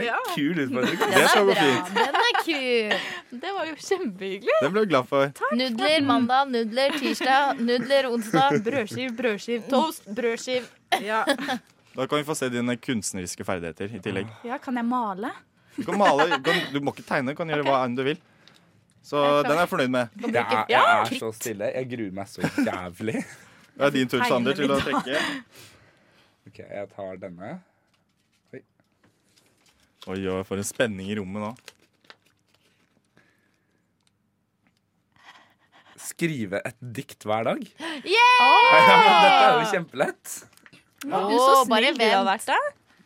[SPEAKER 5] en kul utfordring.
[SPEAKER 3] Den Det skal er gå bra. fint.
[SPEAKER 4] Den er kul.
[SPEAKER 7] Det var jo kjempehyggelig.
[SPEAKER 3] Den ble du glad for.
[SPEAKER 4] Nudler mandag, nudler tirsdag, nudler onsdag.
[SPEAKER 7] Brødskiv, brødskiv, toast, brødskiv. Ja.
[SPEAKER 3] Da kan vi få se dine kunstneriske ferdigheter i tillegg.
[SPEAKER 7] ja, kan jeg male?
[SPEAKER 3] Du kan male, du, kan, du må ikke tegne, du kan gjøre hva enn du vil. Så den er jeg fornøyd med.
[SPEAKER 5] Jeg er, jeg er så stille. Jeg gruer meg så jævlig.
[SPEAKER 3] Det er din tur, Sander, til å trekke.
[SPEAKER 5] Ok, jeg tar denne.
[SPEAKER 3] Oi, oi, for en spenning i rommet nå.
[SPEAKER 5] Skrive et dikt hver dag. Dette er jo
[SPEAKER 4] Yeah!
[SPEAKER 5] kjempelett.
[SPEAKER 4] Å,
[SPEAKER 7] Du så
[SPEAKER 4] bare
[SPEAKER 7] snill du har vært, da.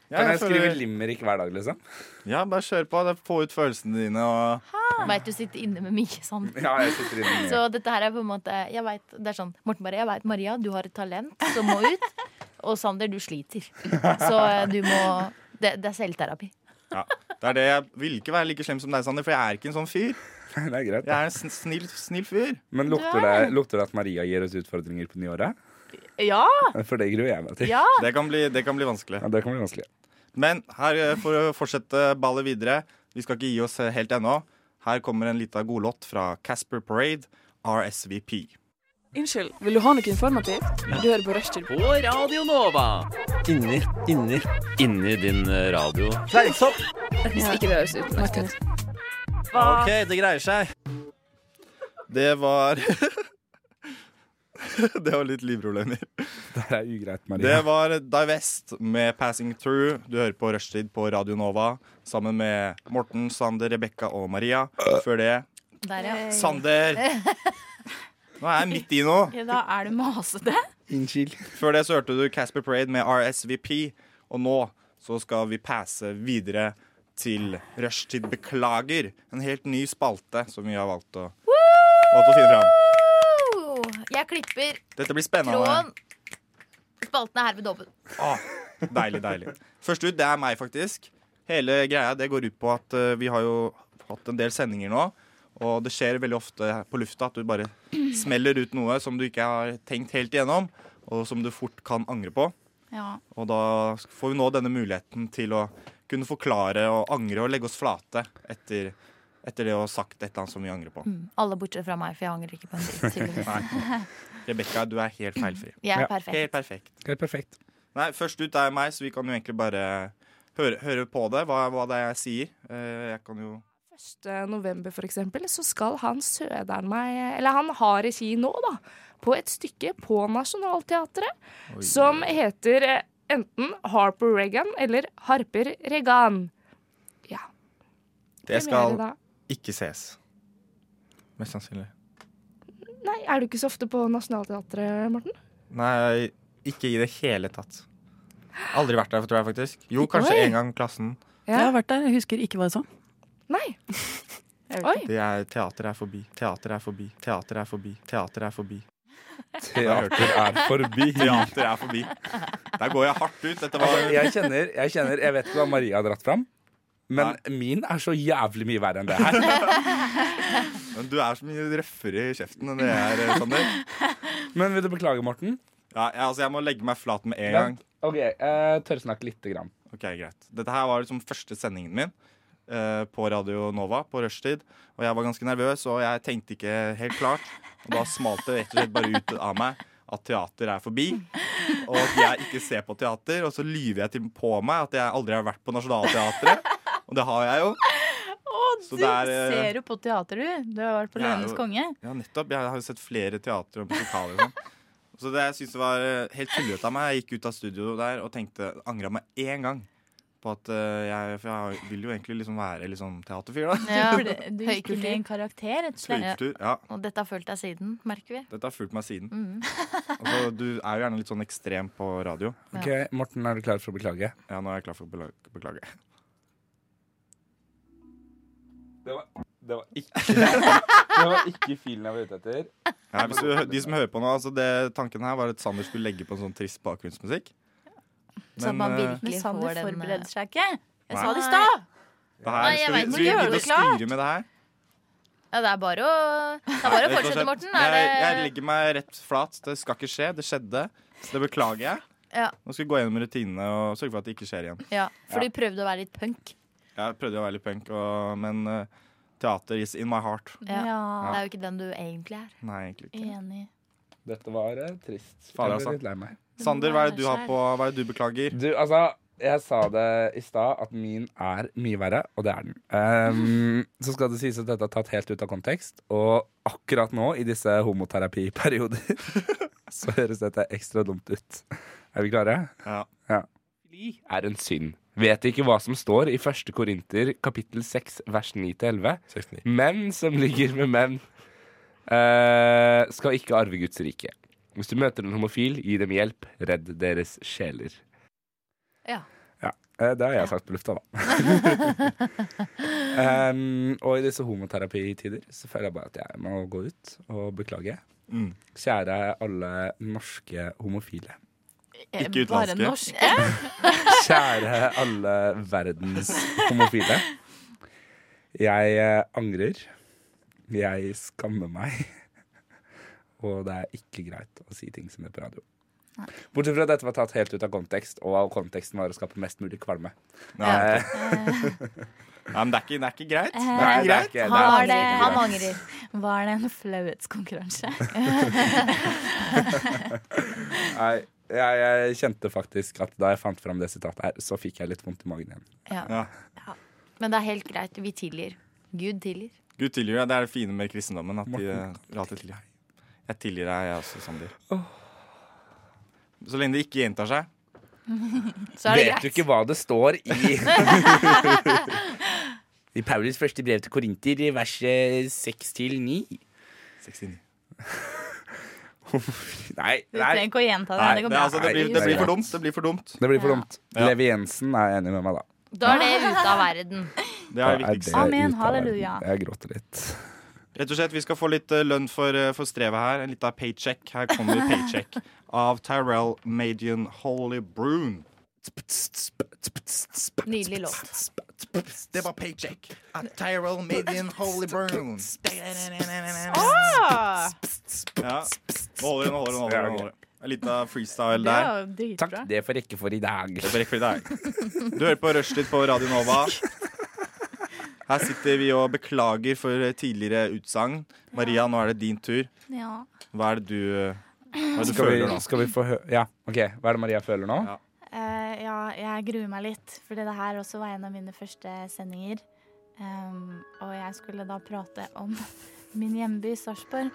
[SPEAKER 3] Ja,
[SPEAKER 5] Kan
[SPEAKER 3] jeg
[SPEAKER 5] jeg skrive
[SPEAKER 3] føler-
[SPEAKER 5] limerick hver dag, liksom?
[SPEAKER 3] Ja, bare kjør på. det er- Få ut følelsene dine. Og
[SPEAKER 4] Veit du sitter inne med mye sånn.
[SPEAKER 5] Ja, jeg sitter inne med
[SPEAKER 4] Så dette her er på en måte jeg vet, Det er sånn Morten Maria, jeg vet, Maria, du har et talent som må ut. Og Sander, du sliter. Så eh, du må Det, det er selvterapi.
[SPEAKER 3] ja, det er det. Jeg vil ikke være like slem som deg, Sander, for jeg er ikke en sånn fyr.
[SPEAKER 5] Det er greit.
[SPEAKER 3] Jeg er en sn- snill, snill fyr.
[SPEAKER 5] Men lukter det, lukter det at Maria gir oss utfordringer på nyåret?
[SPEAKER 7] Ja!
[SPEAKER 5] For det gruer jeg meg til.
[SPEAKER 3] Det, kan bli, det kan bli vanskelig.
[SPEAKER 5] Ja, det kan bli vanskelig.
[SPEAKER 3] Men her eh, for å fortsette ballet videre Vi skal ikke gi oss eh, helt ennå. Her kommer en lita godlåt fra Casper Parade, RSVP.
[SPEAKER 8] Unnskyld, vil du ha noe informativt? Du hører på Rushtid. På Radio Nova.
[SPEAKER 13] Inni, inni, inni din eh, radio.
[SPEAKER 8] Fleipsopp. Hvis ikke det høres ut. Martin.
[SPEAKER 13] OK, det greier seg.
[SPEAKER 3] Det var Det var litt livproblemer.
[SPEAKER 5] Det er ugreit, Maria.
[SPEAKER 3] Det var Divest med 'Passing Through'. Du hører på Rushtid på Radio Nova sammen med Morten, Sander, Rebekka og Maria. Før det
[SPEAKER 4] Der, ja.
[SPEAKER 3] Sander! Nå er jeg midt i noe.
[SPEAKER 7] Ja, da er du masete.
[SPEAKER 3] Før det så hørte du Casper Parade med RSVP, og nå så skal vi passe videre til Rushtid beklager. En helt ny spalte som vi har valgt å, valgt å finne fram.
[SPEAKER 4] Oh, Jeg klipper
[SPEAKER 3] Dette blir spennende.
[SPEAKER 4] tråden. Spalten er herved åpen.
[SPEAKER 3] Åh, deilig, deilig. Først ut, det er meg, faktisk. Hele greia det går ut på at eh, vi har jo hatt en del sendinger nå. Og det skjer veldig ofte på lufta at du bare smeller ut noe som du ikke har tenkt helt igjennom, og som du fort kan angre på.
[SPEAKER 7] Ja.
[SPEAKER 3] Og da får vi nå denne muligheten til å kunne forklare og angre og legge oss flate etter, etter det å ha sagt et eller annet som vi angrer på.
[SPEAKER 4] Mm, Alle bortsett fra meg, for jeg angrer ikke på en dritt.
[SPEAKER 3] Nei.
[SPEAKER 4] tydeligvis.
[SPEAKER 3] Rebekka, du er helt feilfri.
[SPEAKER 4] Jeg er Ja. perfekt.
[SPEAKER 3] Helt perfekt.
[SPEAKER 5] Helt perfekt.
[SPEAKER 3] Nei, først ut er meg, så vi kan jo egentlig bare høre, høre på det, hva, hva det er jeg sier. Eh, Jeg kan jo
[SPEAKER 8] 1. november for eksempel, så skal han søderen meg, eller han har regi nå da, på et stykke på Nationalteatret
[SPEAKER 14] Oi.
[SPEAKER 8] som heter eh, enten Harper Regan eller Harper Regan. Ja.
[SPEAKER 3] Det
[SPEAKER 8] Premiere
[SPEAKER 3] skal
[SPEAKER 8] da.
[SPEAKER 3] ikke ses. Mest sannsynlig.
[SPEAKER 8] Nei, er du ikke så ofte på Nationalteatret, Morten?
[SPEAKER 3] Nei, ikke i det hele tatt. Aldri vært der, tror jeg faktisk. Jo, kanskje
[SPEAKER 14] Oi.
[SPEAKER 3] en gang klassen.
[SPEAKER 14] Jeg har vært der, jeg husker ikke hva jeg sa.
[SPEAKER 8] Nei.
[SPEAKER 14] Oi.
[SPEAKER 3] Det er teater er forbi, teater er forbi, teater er forbi, teater er forbi.
[SPEAKER 5] Teater er forbi.
[SPEAKER 3] Teater er forbi. Der går jeg hardt ut. Dette var
[SPEAKER 5] Altså, jeg, kjenner, jeg kjenner Jeg vet ikke hva Maria har dratt fram, men min er så jævlig mye verre enn det her.
[SPEAKER 3] Men du er så mye røffere i kjeften enn det jeg er, Sander.
[SPEAKER 5] Men vil du beklage, Morten?
[SPEAKER 3] Ja, jeg, altså, jeg må legge meg flat med en gang.
[SPEAKER 5] Vent. OK, eh, tørrsnakk lite grann.
[SPEAKER 3] Ok, greit. Dette her var liksom første sendingen min eh, på Radio Nova på rushtid. Og jeg var ganske nervøs, og jeg tenkte ikke helt klart. Og da smalt det rett og slett bare ut av meg at teater er forbi. Og at jeg ikke ser på teater. Og så lyver jeg til på meg at jeg aldri har vært på Nationaltheatret. Og det har jeg jo.
[SPEAKER 7] Å,
[SPEAKER 3] Så
[SPEAKER 7] du
[SPEAKER 3] det er, eh,
[SPEAKER 7] ser jo på teater, du. Du har vært på
[SPEAKER 3] Jeg er jo-
[SPEAKER 7] Løvenes konge.
[SPEAKER 3] Ja, nettopp. Jeg har jo sett flere teater og musikaler og sånn. Så det jeg synes det var eh, helt tullete av meg. Jeg gikk ut av studio der og tenkte, angra meg én gang. På at eh, jeg, for jeg vil jo egentlig liksom være liksom teaterfyr, da.
[SPEAKER 4] Ja.
[SPEAKER 7] Du, du gikk inn i en karakter, rett og slett.
[SPEAKER 3] Høykultur, ja.
[SPEAKER 4] Og dette har fulgt deg siden, merker vi.
[SPEAKER 3] Dette har fulgt meg siden.
[SPEAKER 7] Mm.
[SPEAKER 3] Altså, du er jo gjerne litt sånn ekstrem på radio.
[SPEAKER 4] Ja.
[SPEAKER 5] Ok, Morten, er du klar for å beklage?
[SPEAKER 3] Ja, nå er jeg klar for å bela- beklage.
[SPEAKER 5] Det var, ikke Det var ikke filen jeg var ute etter.
[SPEAKER 3] Ja, hvis du, de som hører på nå, altså det, tanken her var at Sander skulle legge på en sånn trist bakgrunnsmusikk.
[SPEAKER 4] Så at man
[SPEAKER 3] eh,
[SPEAKER 4] virkelig
[SPEAKER 7] Men Sander
[SPEAKER 4] får den, eh,
[SPEAKER 7] forbereder seg ikke. Jeg
[SPEAKER 3] Nei.
[SPEAKER 7] sa det i stad.
[SPEAKER 3] Det
[SPEAKER 7] Nei,
[SPEAKER 3] her,
[SPEAKER 7] jeg
[SPEAKER 3] skal
[SPEAKER 7] vet
[SPEAKER 3] vi,
[SPEAKER 7] ikke,
[SPEAKER 3] skal vi
[SPEAKER 7] gjør
[SPEAKER 3] begynne
[SPEAKER 7] det
[SPEAKER 3] å
[SPEAKER 7] klart.
[SPEAKER 3] styre med det her?
[SPEAKER 4] Ja, det er bare å, det er bare å
[SPEAKER 3] Rett og
[SPEAKER 4] fortsette,
[SPEAKER 3] slett.
[SPEAKER 4] Morten. Er
[SPEAKER 3] Jeg, jeg
[SPEAKER 4] det,
[SPEAKER 3] legger meg rett flat. Det skal ikke skje. Det skjedde. Det beklager jeg.
[SPEAKER 4] ja,
[SPEAKER 3] Nå skal vi gå gjennom rutinene og sørge for at det ikke skjer igjen.
[SPEAKER 4] ja, for
[SPEAKER 3] Ja.
[SPEAKER 4] du prøvde å være litt punk.
[SPEAKER 3] Jeg prøvde å være litt punk, og, men eh, teater is in my heart.
[SPEAKER 4] Ja. Det er jo ikke den du egentlig er.
[SPEAKER 3] Nei, egentlig ikke.
[SPEAKER 4] Enig.
[SPEAKER 5] Dette var eh, trist.
[SPEAKER 3] Fader,
[SPEAKER 5] jeg
[SPEAKER 3] altså.
[SPEAKER 5] ble litt lei meg.
[SPEAKER 3] Sander, hva er det du har på Hva er det du beklager?
[SPEAKER 5] Du, altså, jeg sa det i stad, at min er mye verre, og det er den. Ehm, så skal det sies at dette er tatt helt ut av kontekst, og akkurat nå, i disse homoterapiperioder, så høres dette ekstra dumt ut. Er vi klare?
[SPEAKER 3] Ja.
[SPEAKER 5] Pedofili Er en synd. Vet ikke hva som står i 1. Korinter kapittel 6 vers 9-11. Menn som ligger med menn, eh, skal ikke arve Guds rike. Hvis du møter en homofil, gi dem hjelp. Redd deres sjeler.
[SPEAKER 4] Ja.
[SPEAKER 5] Ja, eh, Det har jeg sagt på lufta, da. um, og i disse homoterapitider så føler jeg bare at jeg må gå ut og beklage.
[SPEAKER 3] Mm.
[SPEAKER 5] Kjære alle norske homofile.
[SPEAKER 3] Eh,
[SPEAKER 7] Ikke Eh, Bare utenlandske. norske?
[SPEAKER 5] Kjære alle verdens homofile. Jeg eh, angrer. Jeg skammer meg. Og det er ikke greit å si ting som det på radio. Bortsett fra at dette var tatt helt ut av kontekst, og av konteksten var å skape mest mulig kvalme.
[SPEAKER 3] Ja.
[SPEAKER 5] Eh,
[SPEAKER 3] Nei, men det er ikke, det er ikke
[SPEAKER 7] Eh,
[SPEAKER 3] greit. Det
[SPEAKER 5] Nei, det er
[SPEAKER 3] er ikke greit.
[SPEAKER 5] ikke- det er
[SPEAKER 7] Var
[SPEAKER 5] faktisk
[SPEAKER 7] det,
[SPEAKER 5] ikke greit.
[SPEAKER 7] Var det en flauhetskonkurranse?
[SPEAKER 5] Nei, jeg, jeg kjente faktisk at da jeg fant fram det sitatet her, så fikk jeg litt vondt i magen igjen.
[SPEAKER 4] Ja. Ja. Men det er helt greit. Vi tilgir. Gud tilgir.
[SPEAKER 3] Gud tilgir deg. Det er det fine med kristendommen. At de eh, alltid tilgir deg. Jeg tilgir deg, jeg også, Sander. Så lenge det ikke gjentar seg.
[SPEAKER 4] Så er det
[SPEAKER 5] Vet du ikke hva det står i I Paulus første brev til Korinter, vers 6 til 9.
[SPEAKER 3] 6 til 9.
[SPEAKER 5] Nei.
[SPEAKER 7] Du trenger ikke å gjenta det. det altså- går bra.
[SPEAKER 3] dumt. altså, Det blir for dumt.
[SPEAKER 5] Det blir for dumt. Levi Jensen er enig med meg, da.
[SPEAKER 4] Da er det
[SPEAKER 14] Ah.
[SPEAKER 4] ute av verden.
[SPEAKER 3] Det er det
[SPEAKER 5] Da
[SPEAKER 3] viktigste.
[SPEAKER 5] det
[SPEAKER 7] Amen,
[SPEAKER 5] ut av verden.
[SPEAKER 7] halleluja.
[SPEAKER 5] Jeg gråter litt.
[SPEAKER 3] Rett og slett, Vi skal få litt eh, lønn for, eh, for strevet her. En liten paycheck. Her kommer paycheck av Tyrell Madian Holly Broon.
[SPEAKER 4] Nydelig låt.
[SPEAKER 3] Det var paycheck av Tyrell Madian Holly Broon.
[SPEAKER 7] Ah!
[SPEAKER 3] Ja. Nå holder det, nå holder det. nå holder det, nå holder det. En liten freestyle
[SPEAKER 7] Det
[SPEAKER 3] der.
[SPEAKER 7] var dritbra.
[SPEAKER 5] Det får rekke for i dag.
[SPEAKER 3] Det får rekke for i dag. Du hører på Rushtid på Radio Nova. Her sitter vi og beklager for tidligere utsagn. Maria, nå er det din tur.
[SPEAKER 7] Ja.
[SPEAKER 3] Hva er det du, hva er det
[SPEAKER 5] Skal
[SPEAKER 3] du
[SPEAKER 5] vi,
[SPEAKER 3] føler nå?
[SPEAKER 5] skal vi få hø Ja, OK. Hva er det Maria føler nå?
[SPEAKER 7] Eh, ja, jeg gruer meg litt, fordi det her også var en av mine første sendinger. Um, og jeg skulle da prate om min hjemby Sarpsborg.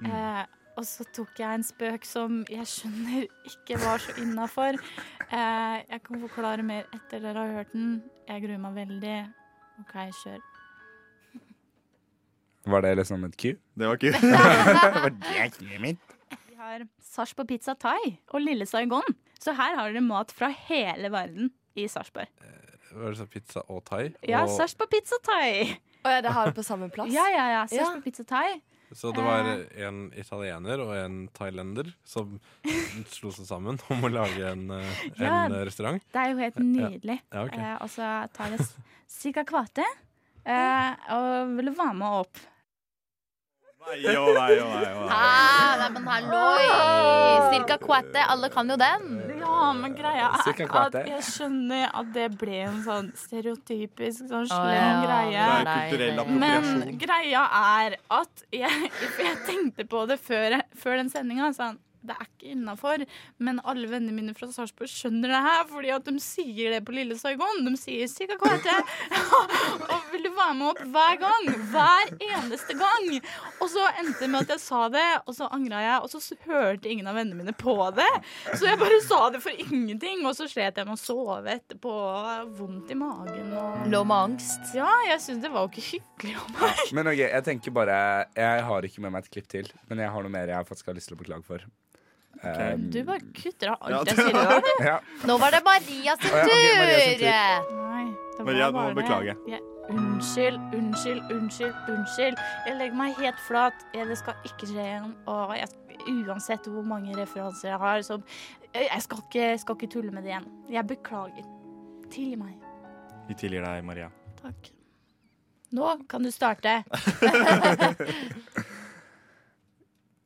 [SPEAKER 6] Mm.
[SPEAKER 7] Eh, og så tok jeg en spøk som jeg skjønner ikke var så innafor. Eh, jeg kan forklare mer etter dere har hørt den. Jeg gruer meg veldig. OK, kjør.
[SPEAKER 5] Var det liksom et Q?
[SPEAKER 3] Det var Q.
[SPEAKER 5] var det Q-en min?
[SPEAKER 7] Vi har Sarpsborg Pizza Thai og Lille Saigon. Så her har dere mat fra hele verden i Sarpsborg.
[SPEAKER 15] Var det så pizza og thai?
[SPEAKER 7] Ja,
[SPEAKER 15] og,
[SPEAKER 7] Sarpsborg Pizza Thai.
[SPEAKER 14] Å ja, det har vi på samme plass?
[SPEAKER 7] Ja, ja, ja. Sarpsborg Pizza Thai.
[SPEAKER 15] så det var en italiener og en thailender som slo seg sammen om å lage en, eh,
[SPEAKER 7] Ja,
[SPEAKER 15] en restaurant.
[SPEAKER 7] Det er jo helt nydelig.
[SPEAKER 15] Ja, ok.
[SPEAKER 7] eh, og så tar det cirka kvate eh, og vil være med opp.
[SPEAKER 3] Nei, å nei, å nei, å nei.
[SPEAKER 4] Ah, nei, men halloi! Cirka kvete. Alle kan jo den.
[SPEAKER 7] Ja, men greia
[SPEAKER 15] Eh,
[SPEAKER 4] Cirka
[SPEAKER 7] er at
[SPEAKER 4] kvate.
[SPEAKER 7] jeg skjønner at det ble en sånn stereotypisk, sånn slem
[SPEAKER 4] ja.
[SPEAKER 3] Det er
[SPEAKER 7] greie.
[SPEAKER 3] kulturell
[SPEAKER 7] Men
[SPEAKER 3] appropriasjon.
[SPEAKER 7] greia er at jeg, for jeg tenkte på det før, før den sendinga. Sånn, det er ikke innafor, men alle vennene mine fra Sarpsborg skjønner det her. Fordi at de sier det på Lille Saigon. De sier 'Sikka kvete'. og vil du være med opp hver gang? Hver eneste gang. Og så endte det med at jeg sa det, og så angra jeg. Og så s- hørte ingen av vennene mine på det. Så jeg bare sa det for ingenting. Og så slet jeg med å sove etterpå. Vondt i magen
[SPEAKER 3] Mm.
[SPEAKER 7] og
[SPEAKER 4] Lå med angst.
[SPEAKER 7] Ja, jeg syns det var jo ikke hyggelig av meg.
[SPEAKER 5] Men ok, jeg tenker bare Jeg har ikke med meg et klipp til, men jeg har noe mer jeg faktisk har lyst til å beklage for. Um,
[SPEAKER 7] Du bare kutter av
[SPEAKER 5] Ja,
[SPEAKER 7] alt jeg
[SPEAKER 5] det-
[SPEAKER 7] sier. i dag.
[SPEAKER 5] ja.
[SPEAKER 4] Nå var det Maria sin
[SPEAKER 5] Å, ja, ok, Maria sin
[SPEAKER 4] tur!
[SPEAKER 7] Nei, det var
[SPEAKER 3] Maria, du må
[SPEAKER 7] bare-
[SPEAKER 3] beklage.
[SPEAKER 7] Jeg- Unnskyld, unnskyld, unnskyld, unnskyld. Jeg legger meg helt flat. Jeg- Det skal ikke skje igjen. Og jeg, uansett hvor mange referanser jeg har, så jeg skal ikke, skal ikke tulle med det igjen. Jeg beklager. Tilgi meg.
[SPEAKER 3] Vi tilgir deg, Maria.
[SPEAKER 7] Takk. Nå kan du starte.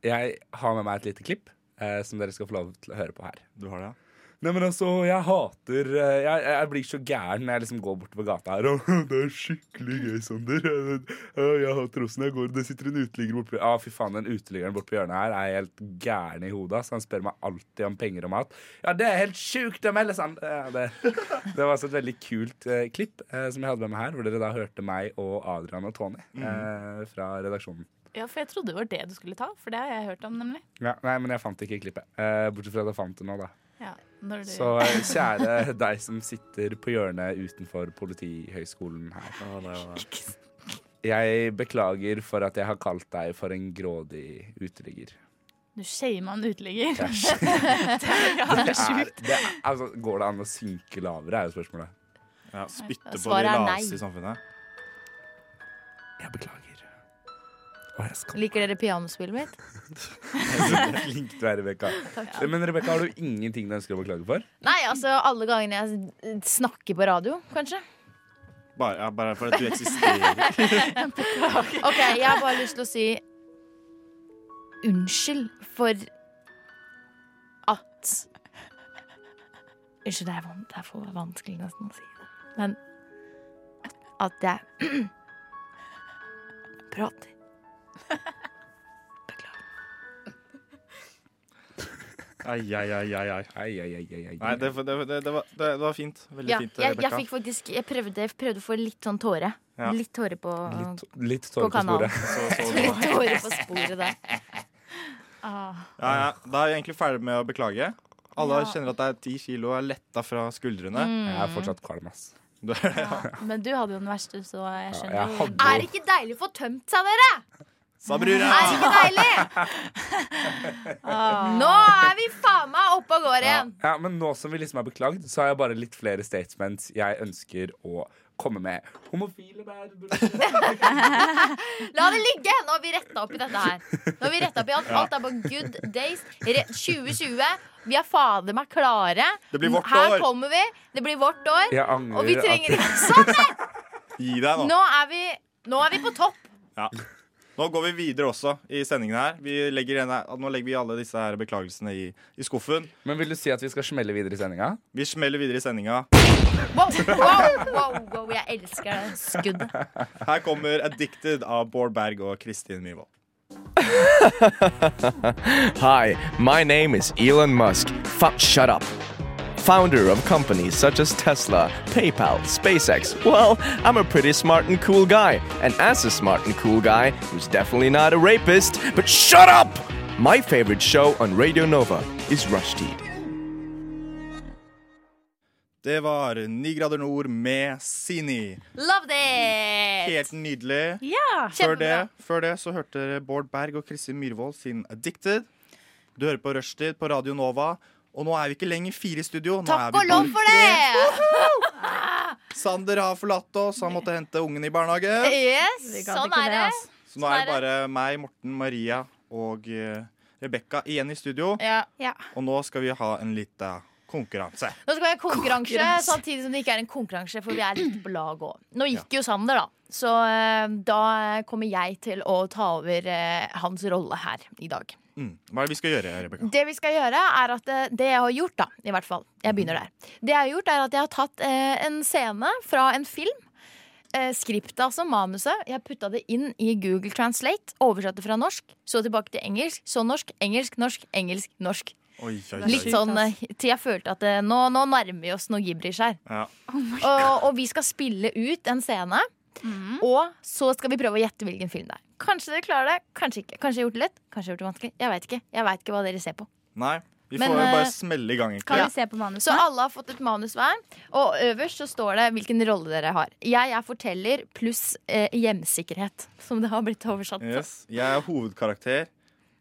[SPEAKER 5] Jeg har med meg et lite klipp eh, som dere skal få lov til å høre på her.
[SPEAKER 3] Du har det, ja?
[SPEAKER 5] Nei, men altså, jeg hater eh, Jeg, jeg blir så gæren når jeg liksom går bortover gata her og Det er skikkelig gøy, Sander. Jeg, jeg, jeg hater åssen jeg går. Det sitter en uteligger bortpå Ja, ah, fy faen, den uteliggeren bortpå hjørnet her er helt gæren i hodet. Så han spør meg alltid om penger og mat. Ja, det er helt sjukt å melde seg ja, det, det var altså et veldig kult eh, klipp eh, som jeg hadde med meg her, hvor dere da hørte meg og Adrian og Tony eh, fra redaksjonen.
[SPEAKER 7] Ja, for jeg trodde det var det du skulle ta, for det har jeg hørt om, nemlig.
[SPEAKER 5] Ja, nei, men jeg fant ikke klippet. Eh, bortsett fra at jeg fant det nå, da.
[SPEAKER 7] Ja, når du...
[SPEAKER 5] Så eh, kjære deg som sitter på hjørnet utenfor Politihøgskolen her. Jeg beklager for at jeg har kalt deg for en grådig uteligger.
[SPEAKER 7] Du shama en uteligger.
[SPEAKER 5] Det er
[SPEAKER 7] det er
[SPEAKER 5] er-
[SPEAKER 7] sjukt.
[SPEAKER 5] det er- altså, går det an å synke lavere, er jo spørsmålet.
[SPEAKER 3] Ja, spytte på
[SPEAKER 4] Svaret
[SPEAKER 3] de
[SPEAKER 4] er nei.
[SPEAKER 3] laveste i samfunnet?
[SPEAKER 5] Jeg beklager.
[SPEAKER 4] Liker dere pianospillet mitt?
[SPEAKER 5] Flink du er, Rebekka.
[SPEAKER 4] Takk.
[SPEAKER 5] Men Rebekka, har du ingenting du ønsker å beklage for?
[SPEAKER 4] Nei, altså alle gangene jeg s- snakker på radio, kanskje.
[SPEAKER 3] Bare, ja, bare for at du eksisterer.
[SPEAKER 4] OK, jeg har bare lyst til å si unnskyld for at Unnskyld, det er, van det er for vanskelig nesten å si det. Men at jeg prater.
[SPEAKER 3] Ai, ai, ai, ai, ai.
[SPEAKER 5] Ai, ai, ai, ai, ai.
[SPEAKER 3] Nei, det, det, det, det, var, det, det var fint. Veldig
[SPEAKER 4] Ja,
[SPEAKER 3] fint,
[SPEAKER 4] jeg, jeg
[SPEAKER 3] Rebekka.
[SPEAKER 4] fikk faktisk Jeg prøvde, jeg prøvde å få litt sånn tåre.
[SPEAKER 3] Ja.
[SPEAKER 4] Litt tåre på
[SPEAKER 5] Litt
[SPEAKER 4] På
[SPEAKER 5] tårer på
[SPEAKER 4] kanalen.
[SPEAKER 5] sporet.
[SPEAKER 4] Litt tåre på sporet der.
[SPEAKER 3] Ja, ja. Da er vi egentlig ferdig med å beklage. Alle
[SPEAKER 7] Ja.
[SPEAKER 3] kjenner at det er ti kilo er letta fra skuldrene.
[SPEAKER 7] Mm. Jeg er fortsatt
[SPEAKER 5] kvalm, ass.
[SPEAKER 3] Du er det, ja.
[SPEAKER 7] Men du hadde jo den verste, så jeg skjønner
[SPEAKER 3] jeg
[SPEAKER 7] jo-
[SPEAKER 3] hadde- Er det
[SPEAKER 4] ikke deilig å få tømt seg, dere?
[SPEAKER 3] Sa brura!
[SPEAKER 4] Er det ikke deilig? Nå er vi faen meg oppe og
[SPEAKER 5] Ja.
[SPEAKER 4] går igjen.
[SPEAKER 5] ja, men nå som vi liksom er beklagd, så har jeg bare litt flere statements jeg ønsker å komme med. Homofile der
[SPEAKER 4] La det ligge! Nå har vi retta opp i dette her. Nå har vi rettet opp i alt. Alt er på good days. Re 2020. Vi er fader meg klare.
[SPEAKER 3] Det blir vårt
[SPEAKER 4] her
[SPEAKER 3] år.
[SPEAKER 4] kommer vi. Det blir vårt år.
[SPEAKER 3] Jeg angrer
[SPEAKER 4] og vi
[SPEAKER 3] at-
[SPEAKER 4] trenger ikke Sånn! der!
[SPEAKER 3] Gi deg nå.
[SPEAKER 4] Nå er vi, nå er vi på topp.
[SPEAKER 3] Ja. Nå går vi videre også i sendingen her. Vi legger en, nå legger vi alle disse her beklagelsene i, i skuffen.
[SPEAKER 5] Men vil du si at vi skal smelle videre i sendinga?
[SPEAKER 3] Vi smeller videre i sendinga.
[SPEAKER 4] Wow, wow, wow, wow. Jeg elsker det skuddet.
[SPEAKER 3] Her kommer 'Addicted' av Bård Berg og Kristin Myhrvold.
[SPEAKER 16] Hi, my name is Elon Musk. Fuck, shut up. Founder of companies such as Tesla, PayPal, SpaceX. Well, I'm a pretty smart and cool guy, and as a smart and cool guy who's definitely not a rapist, but shut up! My favorite show on Radio Nova is Rushdie.
[SPEAKER 3] Det var 9 grader nord med Sini.
[SPEAKER 4] Love this!
[SPEAKER 3] Helt nydelig.
[SPEAKER 4] Ja,
[SPEAKER 3] før, det,
[SPEAKER 4] kjempebra.
[SPEAKER 3] før det så hørte dere Bård Berg og Kristin Myhrvold sin 'Addicted'. Du hører på Rushtid på Radio Nova, og nå er vi ikke lenger fire i studio. Nå er
[SPEAKER 4] Takk
[SPEAKER 3] vi
[SPEAKER 4] og lov
[SPEAKER 3] bare
[SPEAKER 4] for
[SPEAKER 3] tre.
[SPEAKER 4] det!
[SPEAKER 3] Sander har forlatt oss, han måtte hente ungen i barnehagen.
[SPEAKER 4] Eh, Yes,
[SPEAKER 7] Vi kan
[SPEAKER 4] sånn
[SPEAKER 7] ikke
[SPEAKER 4] er
[SPEAKER 7] det, altså.
[SPEAKER 4] det.
[SPEAKER 7] ass.
[SPEAKER 3] Så nå er det bare meg, Morten, Maria og uh, Rebekka igjen i studio.
[SPEAKER 4] Ja.
[SPEAKER 3] Og nå skal vi ha en liten konkurranse.
[SPEAKER 4] Nå skal vi ha konkurranse,
[SPEAKER 7] Konkurranse.
[SPEAKER 4] samtidig som det ikke er en konkurranse, for vi er litt på lag òg. Nå gikk jo Sander, da. Så eh, da kommer jeg til å ta over eh, hans rolle her i dag.
[SPEAKER 3] Mm. Hva er det vi skal gjøre, Rebekka?
[SPEAKER 4] Det vi skal gjøre, er at eh, det jeg har gjort, da, i hvert fall Jeg begynner der. Det jeg har gjort, er at jeg har tatt eh, en scene fra en film. Eh, skriptet, altså manuset. Jeg putta det inn i Google Translate. Oversatte fra norsk, så tilbake til engelsk, så norsk, engelsk, norsk, engelsk, norsk.
[SPEAKER 3] Oi, oi, oi.
[SPEAKER 4] Litt sånn eh, til jeg følte at eh, nå, nå nærmer vi oss noe gibberish her.
[SPEAKER 3] Ja.
[SPEAKER 4] Og, og vi skal spille ut en scene. Og så skal vi prøve å gjette hvilken film det er. Kanskje dere klarer det, kanskje ikke. Kanskje jeg har gjort det lett, kanskje jeg har gjort det vanskelig. Jeg vet ikke Jeg vet ikke hva dere ser på.
[SPEAKER 3] Nei, vi
[SPEAKER 4] Men,
[SPEAKER 3] får jo
[SPEAKER 4] eh,
[SPEAKER 3] bare smelle i gang, egentlig.
[SPEAKER 4] Ja. Så alle har fått et manus hver, og øverst så står det hvilken rolle dere har. Jeg er forteller pluss eh, hjemsikkerhet, som det har blitt oversatt til.
[SPEAKER 3] Yes. Jeg er hovedkarakter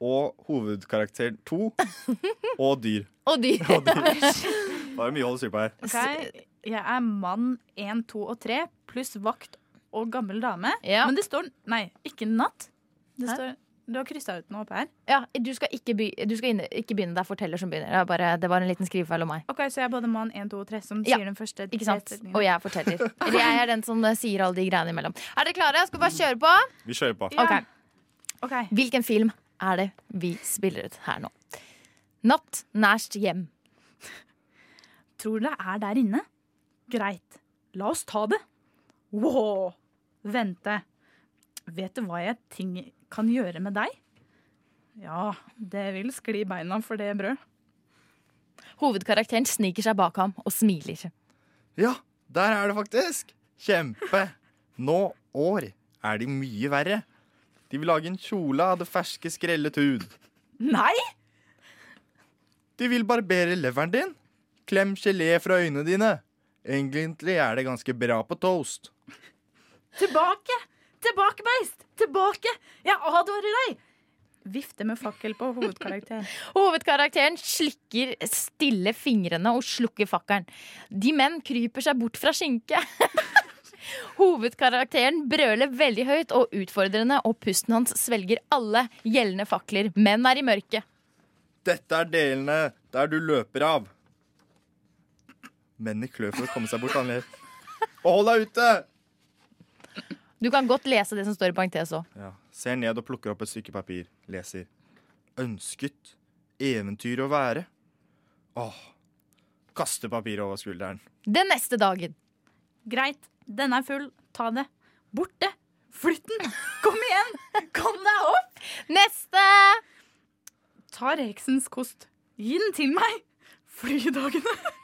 [SPEAKER 3] og hovedkarakter to og dyr.
[SPEAKER 4] Og dyr.
[SPEAKER 3] Det er mye å holde styr på her.
[SPEAKER 7] Ok, Jeg er mann 1, 2 og 3, pluss vakt og gammel dame. Men det står Nei, ikke natt. Det
[SPEAKER 4] Hæ?
[SPEAKER 7] står Du har kryssa ut noe oppe her.
[SPEAKER 4] Ja, du skal ikke, by, du skal inn, ikke begynne. Det er forteller som begynner. Det, er bare, det var en liten skrivefeil om meg.
[SPEAKER 7] Ok, Så jeg er både mann 1, 2 og 3 som
[SPEAKER 4] Ja,
[SPEAKER 7] sier den første
[SPEAKER 4] Ikke sant? Og jeg er forteller. Eller Jeg er den som eh, sier alle de greiene imellom. Er dere klare? Skal vi bare kjøre på?
[SPEAKER 3] Vi kjører på.
[SPEAKER 4] Ok. Hvilken film er det vi spiller ut her nå? Natt nærst hjem.
[SPEAKER 7] Tror dere er der inne? Greit. La oss ta det. Wow. Vente. Vet du hva jeg ting kan gjøre med deg? Ja, det vil skli i beina for det brød.
[SPEAKER 4] Hovedkarakteren sniker seg bak ham og smiler.
[SPEAKER 3] Ja, der er det faktisk. Kjempe. Nå år er de mye verre. De vil lage en kjole av det ferske skrellet hud.
[SPEAKER 7] Nei!
[SPEAKER 3] De vil barbere leveren din. Klem gelé fra øynene dine. Egentlig er det ganske bra på toast.
[SPEAKER 7] Tilbake! Tilbake, beist! Tilbake! Jeg advarer deg! Vifte med fakkel på hovedkarakteren.
[SPEAKER 4] Hovedkarakteren slikker stille fingrene og slukker fakkelen. De menn kryper seg bort fra skinke. Hovedkarakteren brøler veldig høyt og utfordrende, og pusten hans svelger alle gjeldende fakler. Menn er i mørket.
[SPEAKER 3] Dette er delene der du løper av. Menn i klør for å komme seg bort. Anneli. Og hold deg ute!
[SPEAKER 4] Du kan godt lese det som står i parentes òg.
[SPEAKER 3] Ja. Ser ned og plukker opp et stykke papir. Leser. Ønsket. Eventyr å være. Åh. Kaster papiret over skulderen.
[SPEAKER 4] Den neste dagen.
[SPEAKER 7] Greit, den er full. Ta det. Borte. Flytt den. Kom igjen! Kom deg opp!
[SPEAKER 4] Neste!
[SPEAKER 7] Ta reksens kost. Gi den til meg. Flydagene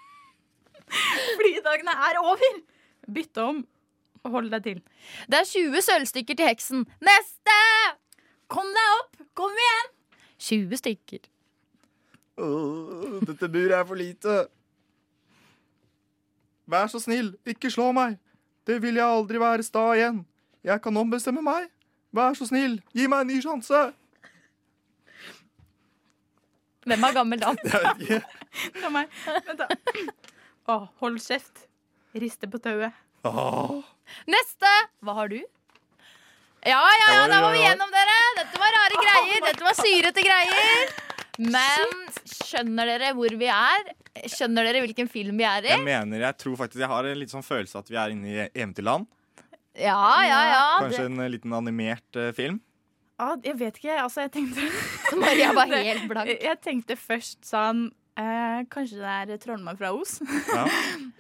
[SPEAKER 7] Flydagene er over! Bytte om. Hold deg til.
[SPEAKER 4] Det er 20 sølvstykker til heksen. Neste!
[SPEAKER 7] Kom deg opp! Kom igjen!
[SPEAKER 4] 20 stykker.
[SPEAKER 3] Åh, dette buret er for lite. Vær så snill, ikke slå meg. Det vil jeg aldri være sta igjen. Jeg kan ombestemme meg. Vær så snill, gi meg en ny sjanse.
[SPEAKER 4] Hvem har gammel dam?
[SPEAKER 7] Det er meg. Vent, da. Å, hold kjeft. Riste på tauet.
[SPEAKER 3] Åh.
[SPEAKER 4] Neste! Hva har du? Ja, ja, ja, da var vi gjennom dere. Dette var rare greier. Dette var syrete greier. Men skjønner dere hvor vi er? Skjønner dere hvilken film vi er i?
[SPEAKER 3] Jeg mener, jeg tror faktisk jeg har en litt sånn følelse at vi er inne i eventyrland.
[SPEAKER 4] Ja, ja, ja.
[SPEAKER 3] Kanskje en eh, liten animert eh, film.
[SPEAKER 7] Ja, jeg vet ikke. Altså, jeg tenkte
[SPEAKER 4] Maria var helt blank.
[SPEAKER 7] Det- Jeg tenkte først sånn eh, Kanskje det er trollmann fra Os.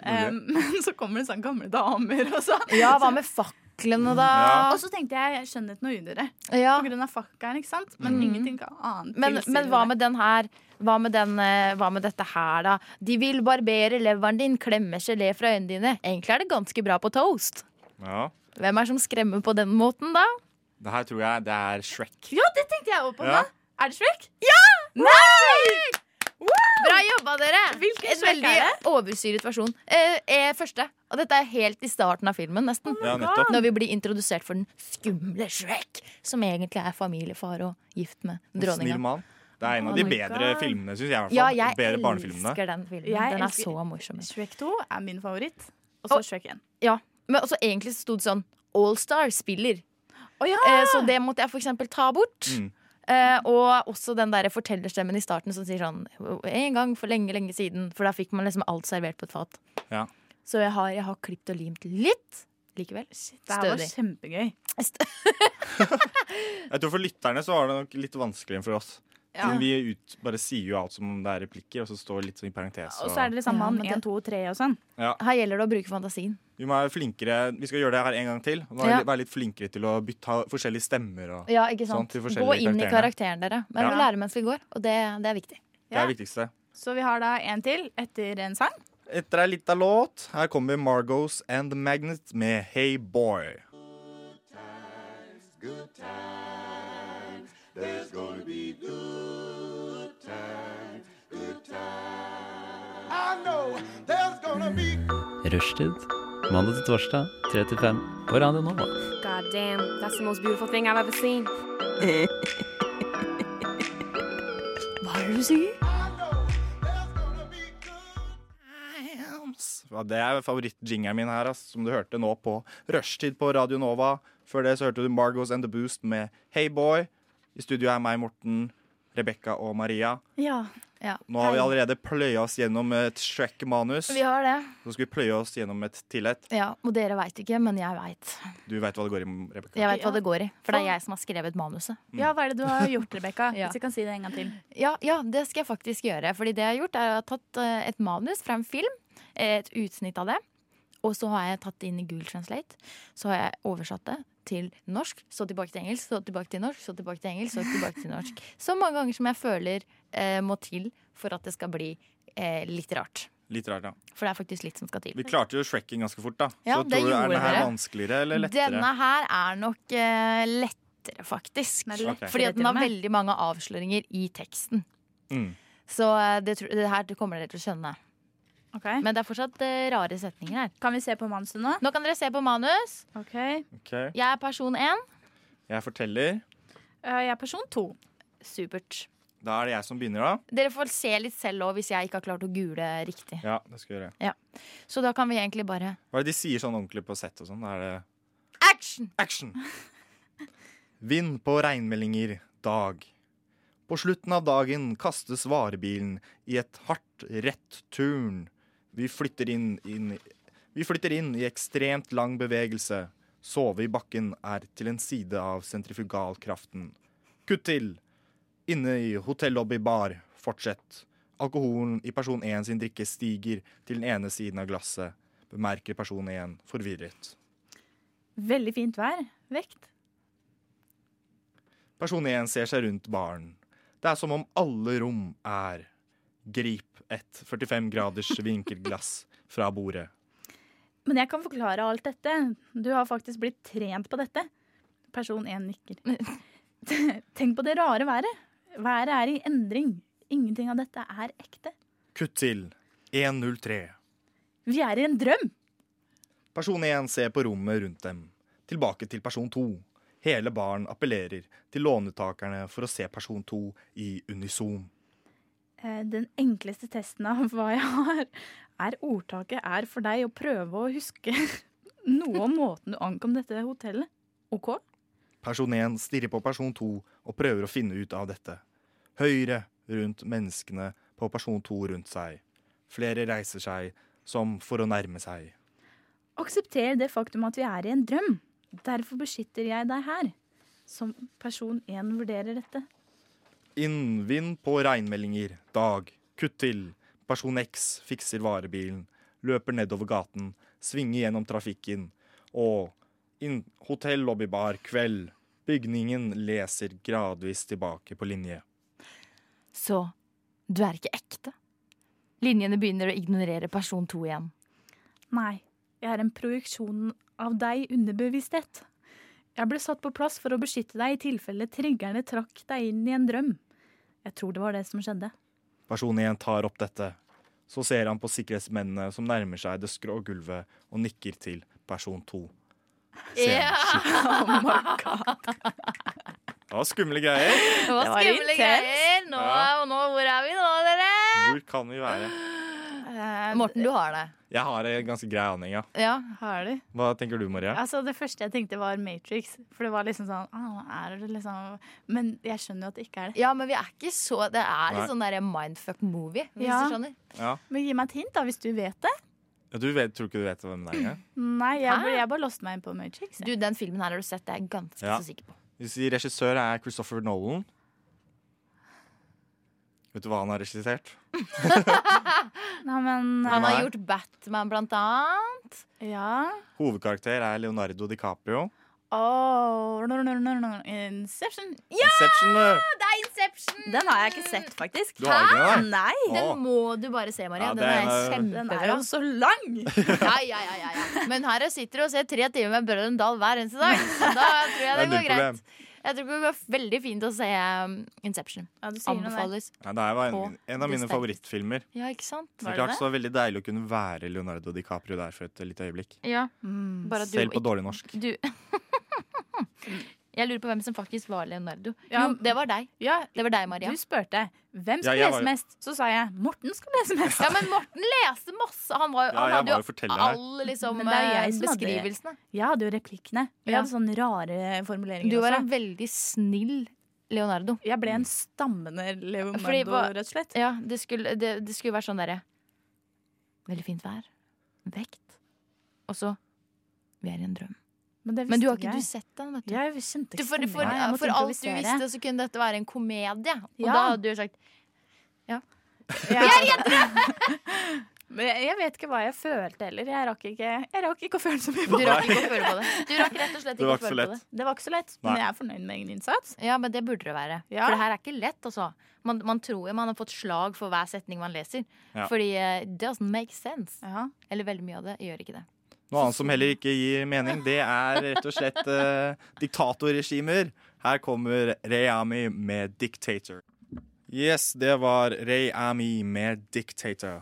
[SPEAKER 7] Eh, men så kommer det sånn gamle damer og så.
[SPEAKER 4] Ja, hva med faklene, da?
[SPEAKER 7] Og så tenkte jeg skjønnhet noe udyre.
[SPEAKER 4] Ja.
[SPEAKER 7] På grunn av fakkelen, ikke sant? Men
[SPEAKER 4] Ah. Mm.
[SPEAKER 7] ingenting annet.
[SPEAKER 4] Men,
[SPEAKER 7] tilsier
[SPEAKER 4] men hva med den her? Hva med, den, eh, hva med dette her, da? De vil barbere leveren din, klemme gelé fra øynene dine. Egentlig er det ganske bra på toast.
[SPEAKER 3] Ja.
[SPEAKER 4] Hvem er det som skremmer på den måten, da?
[SPEAKER 3] Det her tror jeg det er Shrek.
[SPEAKER 7] Ja, det tenkte jeg òg på
[SPEAKER 3] Ja.
[SPEAKER 7] nå. Er det Shrek?
[SPEAKER 4] Ja!
[SPEAKER 7] Nei!
[SPEAKER 4] Bra jobba, dere!
[SPEAKER 7] Hvilken
[SPEAKER 4] En
[SPEAKER 7] Shrek er
[SPEAKER 4] veldig oversyret versjon. Eh, eh, første. Og dette er helt i starten av filmen, nesten.
[SPEAKER 7] Oh
[SPEAKER 3] my Ja, nettopp. God.
[SPEAKER 4] Når vi blir introdusert for den skumle Shrek, som egentlig er familiefar og gift med
[SPEAKER 3] Snill
[SPEAKER 4] dronninga.
[SPEAKER 3] mann. Det er en
[SPEAKER 4] Oh
[SPEAKER 3] av de
[SPEAKER 4] my
[SPEAKER 3] bedre
[SPEAKER 4] God.
[SPEAKER 3] filmene, syns jeg. i hvert fall.
[SPEAKER 4] Ja, jeg
[SPEAKER 3] bedre barnefilmene.
[SPEAKER 4] elsker den filmen.
[SPEAKER 7] Jeg
[SPEAKER 4] den er
[SPEAKER 7] elsker-
[SPEAKER 4] så morsom.
[SPEAKER 7] Shrek 2 er min favoritt. Og så
[SPEAKER 4] Og-
[SPEAKER 7] Shrek 1.
[SPEAKER 4] Ja, men også egentlig så sto det sånn Allstar spiller. Eh, så det måtte jeg for eksempel ta bort.
[SPEAKER 3] Mm.
[SPEAKER 4] Eh, og også den der fortellerstemmen i starten som sier sånn En gang for lenge, lenge siden. For da fikk man liksom alt servert på et fat.
[SPEAKER 3] Ja.
[SPEAKER 4] Så jeg har, jeg har klippet og limt litt likevel.
[SPEAKER 7] Det her var
[SPEAKER 4] Stødig.
[SPEAKER 7] kjempegøy.
[SPEAKER 3] Jeg tror For lytterne så var det nok litt vanskeligere enn for oss.
[SPEAKER 7] Ja.
[SPEAKER 3] Siden vi ut, bare sier jo alt som om det er replikker, og så står det litt sånn i parentes.
[SPEAKER 7] Og så er det liksom
[SPEAKER 4] Ja,
[SPEAKER 7] mann
[SPEAKER 4] men det-
[SPEAKER 7] 1, 2 og 3 og sånn.
[SPEAKER 3] ja.
[SPEAKER 4] Her gjelder det å bruke fantasien.
[SPEAKER 3] Vi må være flinkere Vi skal gjøre det her en gang til. Og være
[SPEAKER 4] Ja.
[SPEAKER 3] litt- være litt flinkere til å bytte ha forskjellige stemmer. Og,
[SPEAKER 4] Ja, ikke sant?
[SPEAKER 3] Sånn til
[SPEAKER 4] Gå
[SPEAKER 3] forskjellige
[SPEAKER 4] inn i
[SPEAKER 3] karakterene.
[SPEAKER 4] karakteren, dere. Men
[SPEAKER 3] Ja.
[SPEAKER 4] vi lærer mens vi går, og det, det er viktig.
[SPEAKER 3] Det er det viktigste.
[SPEAKER 7] Så vi har da en til etter en sang.
[SPEAKER 3] Etter ei lita låt, her kommer Margos and the Magnet med Hey Boy.
[SPEAKER 17] There's gonna be good times, good times. I know there's gonna be
[SPEAKER 13] Rushtid. Mandag til torsdag, 3 til 5 på Radio Nova.
[SPEAKER 18] God damn, that's the most beautiful thing I've ever seen.
[SPEAKER 4] Hva er det du sier?
[SPEAKER 3] Ja, det er favorittjingeren min her, ass, som du hørte nå på rushtid på Radio Nova. Før det så hørte du Margos and the Boost med Hey Boy. I studio er meg, Morten, Rebekka og Maria.
[SPEAKER 4] Ja. ja.
[SPEAKER 3] Nå har vi allerede pløya oss gjennom et Shrek-manus.
[SPEAKER 4] Vi har det.
[SPEAKER 3] Så skal vi pløye oss gjennom et til et.
[SPEAKER 4] Ja, Og dere veit ikke, men jeg veit.
[SPEAKER 3] Du veit hva det går i, Rebekka?
[SPEAKER 4] Jeg veit hva det går i, for det er jeg som har skrevet manuset.
[SPEAKER 7] Ja, hva er det du har gjort, Rebekka?
[SPEAKER 4] Ja.
[SPEAKER 7] Hvis du kan si det en gang til.
[SPEAKER 4] Ja, ja, det skal jeg faktisk gjøre. Fordi det jeg har gjort, er at jeg har tatt eh, et manus fra en film. eh, Et utsnitt av det. Og så har jeg tatt det inn i Google Translate. Så har jeg oversatt det til norsk, så tilbake til engelsk, så tilbake til norsk, så tilbake til engelsk, så tilbake til norsk. Så mange ganger som jeg føler eh, må til for at det skal bli eh, litt rart.
[SPEAKER 3] Litt rart, ja.
[SPEAKER 4] For det er faktisk litt som skal til.
[SPEAKER 3] Vi klarte jo Shrekken ganske fort, da.
[SPEAKER 4] Ja,
[SPEAKER 3] så
[SPEAKER 4] det
[SPEAKER 3] tror du er
[SPEAKER 4] gjorde
[SPEAKER 3] denne her
[SPEAKER 4] dere.
[SPEAKER 3] vanskeligere eller lettere?
[SPEAKER 4] Denne her er nok eh, lettere, faktisk.
[SPEAKER 3] Den er lettere
[SPEAKER 4] Fordi at
[SPEAKER 3] til
[SPEAKER 4] den
[SPEAKER 3] og
[SPEAKER 4] har
[SPEAKER 3] med.
[SPEAKER 4] veldig mange avsløringer i teksten.
[SPEAKER 3] Mm.
[SPEAKER 4] Så eh, det, tro- det her kommer dere til å skjønne. Men det er fortsatt eh, rare setninger her.
[SPEAKER 7] Kan vi se på manuset nå? Eh,
[SPEAKER 4] Nå kan dere se på manus.
[SPEAKER 3] Ok.
[SPEAKER 4] Jeg er person én.
[SPEAKER 3] Jeg forteller.
[SPEAKER 4] Jeg er person to. Supert.
[SPEAKER 3] Da er det jeg som begynner, da.
[SPEAKER 4] Dere får se litt selv òg hvis jeg ikke har klart å gule riktig.
[SPEAKER 3] Ja, det skal jeg gjøre.
[SPEAKER 4] Ja. Så da kan vi egentlig bare
[SPEAKER 3] Hva er det de sier sånn ordentlig på sett og sånn? Da er det
[SPEAKER 4] Action!
[SPEAKER 3] Action! Vind på regnmeldinger, dag. På slutten av dagen kastes varebilen i et hardt, rett turn. Vi flytter inn, inn, vi flytter inn i ekstremt lang bevegelse. Sove i bakken er til en side av sentrifugalkraften. Kutt til! Inne i hotellobby-bar. Fortsett. Alkoholen i person 1 sin drikke stiger til den ene siden av glasset. Bemerker person 1 forvirret.
[SPEAKER 7] Veldig fint vær. Vekt.
[SPEAKER 3] Person 1 ser seg rundt baren. Det er som om alle rom er Grip et 45 graders vinkelglass fra bordet.
[SPEAKER 7] Men jeg kan forklare alt dette. Du har faktisk blitt trent på dette. Person 1 nikker. Tenk på det rare været. Været er i endring. Ingenting av dette er ekte.
[SPEAKER 3] Kutt til 103.
[SPEAKER 7] Vi er i en drøm.
[SPEAKER 3] Person 1 ser på rommet rundt dem. Tilbake til person 2. Hele baren appellerer til lånetakerne for å se person 2 i unison.
[SPEAKER 7] Eh, Den enkleste testen av hva jeg har, er ordtaket er for deg å prøve å huske noe om måten du ankom dette hotellet. OK?
[SPEAKER 3] Person 1 stirrer på person 2 og prøver å finne ut av dette. Høyre rundt menneskene på person 2 rundt seg. Flere reiser seg, som for å nærme seg.
[SPEAKER 7] Aksepter det faktum at vi er i en drøm. Derfor beskytter jeg deg her. Som person én vurderer dette.
[SPEAKER 3] Innvind på regnmeldinger. Dag. Kutt til. Person X fikser varebilen. Løper nedover gaten. Svinger gjennom trafikken. Og inn hotell lobbybar kveld. Bygningen leser gradvis tilbake på linje.
[SPEAKER 4] Så du er ikke ekte. Linjene begynner å ignorere person to igjen.
[SPEAKER 7] Nei, jeg er en projeksjon av deg underbevissthet. Jeg ble satt på plass for å beskytte deg i tilfelle triggerne trakk deg inn i en drøm. Jeg tror det var det som skjedde.
[SPEAKER 3] Person 1 tar opp dette. Så ser han på sikkerhetsmennene som nærmer seg det skrå gulvet, og nikker til person 2.
[SPEAKER 4] Oh my god.
[SPEAKER 3] Det var skumle greier.
[SPEAKER 4] Det var skumle greier. Nå,
[SPEAKER 3] Ja.
[SPEAKER 4] og nå, hvor er vi nå, dere?
[SPEAKER 3] Hvor kan vi være?
[SPEAKER 7] Eh,
[SPEAKER 4] Morten, du har det.
[SPEAKER 3] Jeg har en ganske grei aning, ja.
[SPEAKER 4] Ja.
[SPEAKER 7] Har du?
[SPEAKER 3] Hva tenker du, Maria?
[SPEAKER 7] Altså Det første jeg tenkte, var Matrix. For det var liksom sånn ah, er det liksom Men jeg skjønner jo at det ikke er det.
[SPEAKER 4] Ja, men vi er ikke så Det er
[SPEAKER 3] Nei.
[SPEAKER 4] litt sånn derre mindfuck movie, hvis
[SPEAKER 7] Ja.
[SPEAKER 4] du skjønner.
[SPEAKER 3] Ja.
[SPEAKER 7] Men gi meg et hint, da, hvis du vet det.
[SPEAKER 3] Ja, Du vet, tror ikke du vet hvem det er engang?
[SPEAKER 7] Nei, jeg,
[SPEAKER 4] Hæ?
[SPEAKER 7] bare- jeg bare låste meg inn på Matrix.
[SPEAKER 4] Du, den filmen her har du sett, det er jeg ganske
[SPEAKER 3] Ja.
[SPEAKER 4] så sikker på.
[SPEAKER 3] Hvis vi- regissør er Christopher Nolan Vet du hva han har regissert?
[SPEAKER 7] Nei, men
[SPEAKER 4] Han har
[SPEAKER 3] Nei.
[SPEAKER 4] gjort Batman, blant annet.
[SPEAKER 7] Ja.
[SPEAKER 3] Hovedkarakter er Leonardo DiCaprio.
[SPEAKER 7] Oh, no, no, no, no. Inception. Ja!
[SPEAKER 3] Inception, du.
[SPEAKER 7] Det er Inception! Den har jeg ikke sett, faktisk.
[SPEAKER 3] Du har ikke
[SPEAKER 7] Hæ?
[SPEAKER 3] den, da?
[SPEAKER 7] Nei.
[SPEAKER 3] Den Åh.
[SPEAKER 4] må du bare se, Maria.
[SPEAKER 3] Ja,
[SPEAKER 4] den,
[SPEAKER 3] den
[SPEAKER 4] er
[SPEAKER 3] er-
[SPEAKER 4] kjempebra.
[SPEAKER 7] Den er jo så lang!
[SPEAKER 4] ja, ja, ja, ja, ja. Men her sitter du og ser tre timer med Brødrene Dal hver eneste dag. Så da tror jeg
[SPEAKER 3] Det er
[SPEAKER 4] det, går
[SPEAKER 3] ditt problem.
[SPEAKER 4] greit. Jeg tror det går veldig fint å se um, Inception. Anbefales.
[SPEAKER 3] Ja, det her var en,
[SPEAKER 4] På
[SPEAKER 3] en av mine
[SPEAKER 4] det sterkeste.
[SPEAKER 3] favorittfilmer.
[SPEAKER 4] Ja, ikke sant?
[SPEAKER 3] Så klart så var det veldig deilig å kunne være Leonardo DiCaprio der for et lite øyeblikk.
[SPEAKER 4] Ja.
[SPEAKER 7] Mm.
[SPEAKER 4] Bare at du
[SPEAKER 3] Selv på
[SPEAKER 4] ikke-
[SPEAKER 3] dårlig norsk.
[SPEAKER 4] Du Jeg lurer på hvem som faktisk var Leonardo.
[SPEAKER 7] Ja.
[SPEAKER 4] Jo, det var deg. det var deg, Maria.
[SPEAKER 7] Du spurte hvem
[SPEAKER 3] Ja,
[SPEAKER 7] skal
[SPEAKER 3] jeg var
[SPEAKER 7] lese
[SPEAKER 3] jo-
[SPEAKER 7] mest. Så sa jeg Morten skal lese mest.
[SPEAKER 4] Ja, men Morten leste masse. Han, var, jo-
[SPEAKER 3] Ja,
[SPEAKER 4] han
[SPEAKER 3] jeg
[SPEAKER 4] hadde
[SPEAKER 3] var jo forteller her.
[SPEAKER 4] alle liksom,
[SPEAKER 7] Men det er jo jeg
[SPEAKER 4] eh,
[SPEAKER 7] som hadde-
[SPEAKER 4] beskrivelsene.
[SPEAKER 7] Jeg hadde jo replikkene. Og Jeg
[SPEAKER 4] Ja.
[SPEAKER 7] hadde sånne rare formuleringer
[SPEAKER 4] Du var
[SPEAKER 7] også.
[SPEAKER 4] en veldig snill Leonardo.
[SPEAKER 7] Jeg ble en stammende Leonardo, rett og slett.
[SPEAKER 4] Ja, det skulle, det, det skulle vært sånn derre Veldig fint vær. Vekt. Og så Vi er i en drøm.
[SPEAKER 7] Men,
[SPEAKER 4] Men du har ikke du sett den, vet du.
[SPEAKER 7] Jeg kjente
[SPEAKER 4] Du,
[SPEAKER 7] ikke
[SPEAKER 4] for for,
[SPEAKER 7] stemningen. Jeg måtte
[SPEAKER 4] for alt du
[SPEAKER 7] improvisere.
[SPEAKER 4] visste, så kunne dette være en komedie. Og
[SPEAKER 7] Ja.
[SPEAKER 4] da hadde du sagt Ja.
[SPEAKER 7] Men jeg, jeg vet ikke hva jeg følte heller. Jeg rakk ikke, jeg rakk ikke å føle så mye
[SPEAKER 4] Du
[SPEAKER 7] på det.
[SPEAKER 4] rakk ikke å føle på det. Du rakk rett og slett
[SPEAKER 7] Det
[SPEAKER 4] ikke
[SPEAKER 7] var
[SPEAKER 4] å
[SPEAKER 7] ikke
[SPEAKER 4] føle
[SPEAKER 7] så
[SPEAKER 4] på
[SPEAKER 7] lett.
[SPEAKER 4] det.
[SPEAKER 7] Det var ikke så lett, men
[SPEAKER 4] Nei.
[SPEAKER 7] jeg er fornøyd med egen innsats.
[SPEAKER 4] Ja, men det burde det være.
[SPEAKER 7] Ja.
[SPEAKER 4] For det her er ikke lett, altså. Man, man tror jo man har fått slag for hver setning man leser.
[SPEAKER 3] Ja.
[SPEAKER 4] Fordi eh, it doesn't make sense. Eller veldig mye av det gjør ikke det.
[SPEAKER 3] Noe annet som heller ikke gir mening, det er rett og slett eh, diktatorregimer. Her kommer Reyami med 'Dictator'. Yes, det var Reyami med 'Dictator'.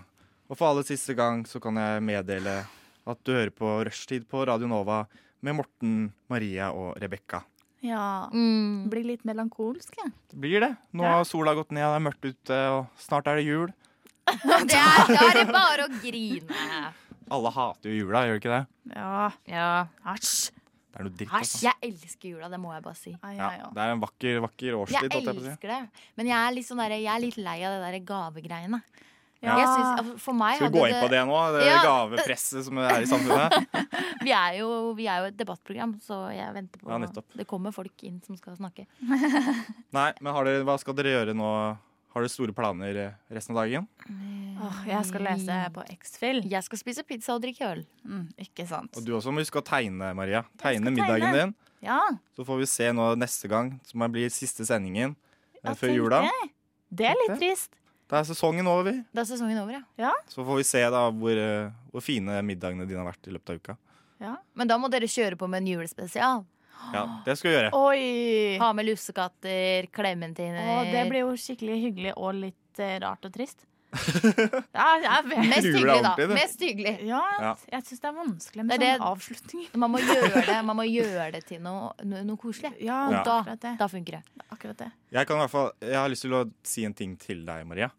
[SPEAKER 3] Og for aller siste gang så kan jeg meddele at du hører på Rushtid på Radio Nova med Morten, Maria og Rebekka.
[SPEAKER 7] Ja. Blir litt melankolsk, jeg.
[SPEAKER 3] Blir det. Nå har sola gått ned, det er mørkt ute, og snart er det jul.
[SPEAKER 4] Det er, da er det bare å grine.
[SPEAKER 3] Alle hater jo jula, gjør de ikke det?
[SPEAKER 7] Ja. Æsj.
[SPEAKER 3] Det er noe dritt.
[SPEAKER 4] Æsj,
[SPEAKER 3] altså.
[SPEAKER 4] jeg elsker jula, det må jeg bare si.
[SPEAKER 3] Ja, det er en vakker, vakker årstid.
[SPEAKER 4] Jeg
[SPEAKER 3] holdt jeg på å si.
[SPEAKER 4] elsker det, men jeg er litt, sånn der, jeg er litt lei av det der gavegreiene.
[SPEAKER 3] Ja.
[SPEAKER 4] Jeg synes, altså, for meg
[SPEAKER 3] Skal vi gå
[SPEAKER 4] hadde
[SPEAKER 3] inn på det nå? Det
[SPEAKER 4] Ja.
[SPEAKER 3] gavepresset som er i samfunnet?
[SPEAKER 4] Vi er, jo, vi er jo et debattprogram, så jeg venter på
[SPEAKER 3] Ja, nettopp.
[SPEAKER 4] Det kommer folk inn som skal snakke.
[SPEAKER 3] Nei, men har dere, hva skal dere gjøre nå? Har dere store planer eh, resten av dagen?
[SPEAKER 7] Åh, jeg skal lese på X-Fill.
[SPEAKER 4] Jeg skal spise pizza og drikke øl.
[SPEAKER 7] Mm, ikke sant.
[SPEAKER 3] Og du også må huske å tegne, Maria. Tegne middagen
[SPEAKER 7] tegne.
[SPEAKER 3] din.
[SPEAKER 7] Ja.
[SPEAKER 3] Så får vi se nå neste gang, som blir siste sendingen eh,
[SPEAKER 7] Ja,
[SPEAKER 3] før
[SPEAKER 7] tenk
[SPEAKER 3] jula.
[SPEAKER 7] det. Det er litt trist.
[SPEAKER 3] Da er sesongen over.
[SPEAKER 4] Da er sesongen over, ja.
[SPEAKER 7] Ja.
[SPEAKER 3] Så får vi se da hvor, eh, hvor fine middagene dine har vært i løpet av uka.
[SPEAKER 4] Men da må dere kjøre på med en julespesial.
[SPEAKER 3] Ja, det skal vi gjøre.
[SPEAKER 7] Oi!
[SPEAKER 4] Ha med lussekatter, klementiner
[SPEAKER 7] Og det blir jo skikkelig hyggelig og litt eh, rart og trist. Ja, jeg er veldig-
[SPEAKER 4] Mest
[SPEAKER 3] Jula er
[SPEAKER 4] hyggelig, da.
[SPEAKER 3] ordentlig, det.
[SPEAKER 4] Mest hyggelig.
[SPEAKER 3] Ja.
[SPEAKER 7] Jeg syns det er vanskelig med
[SPEAKER 4] Det er
[SPEAKER 7] sånne avslutninger.
[SPEAKER 4] Man må gjøre det, man må gjøre det til noe, noe, noe koselig.
[SPEAKER 3] Ja.
[SPEAKER 4] og da, da funker det.
[SPEAKER 7] Akkurat det.
[SPEAKER 3] Jeg, kan i hvert fall, jeg har lyst til å si en ting til deg, Maria.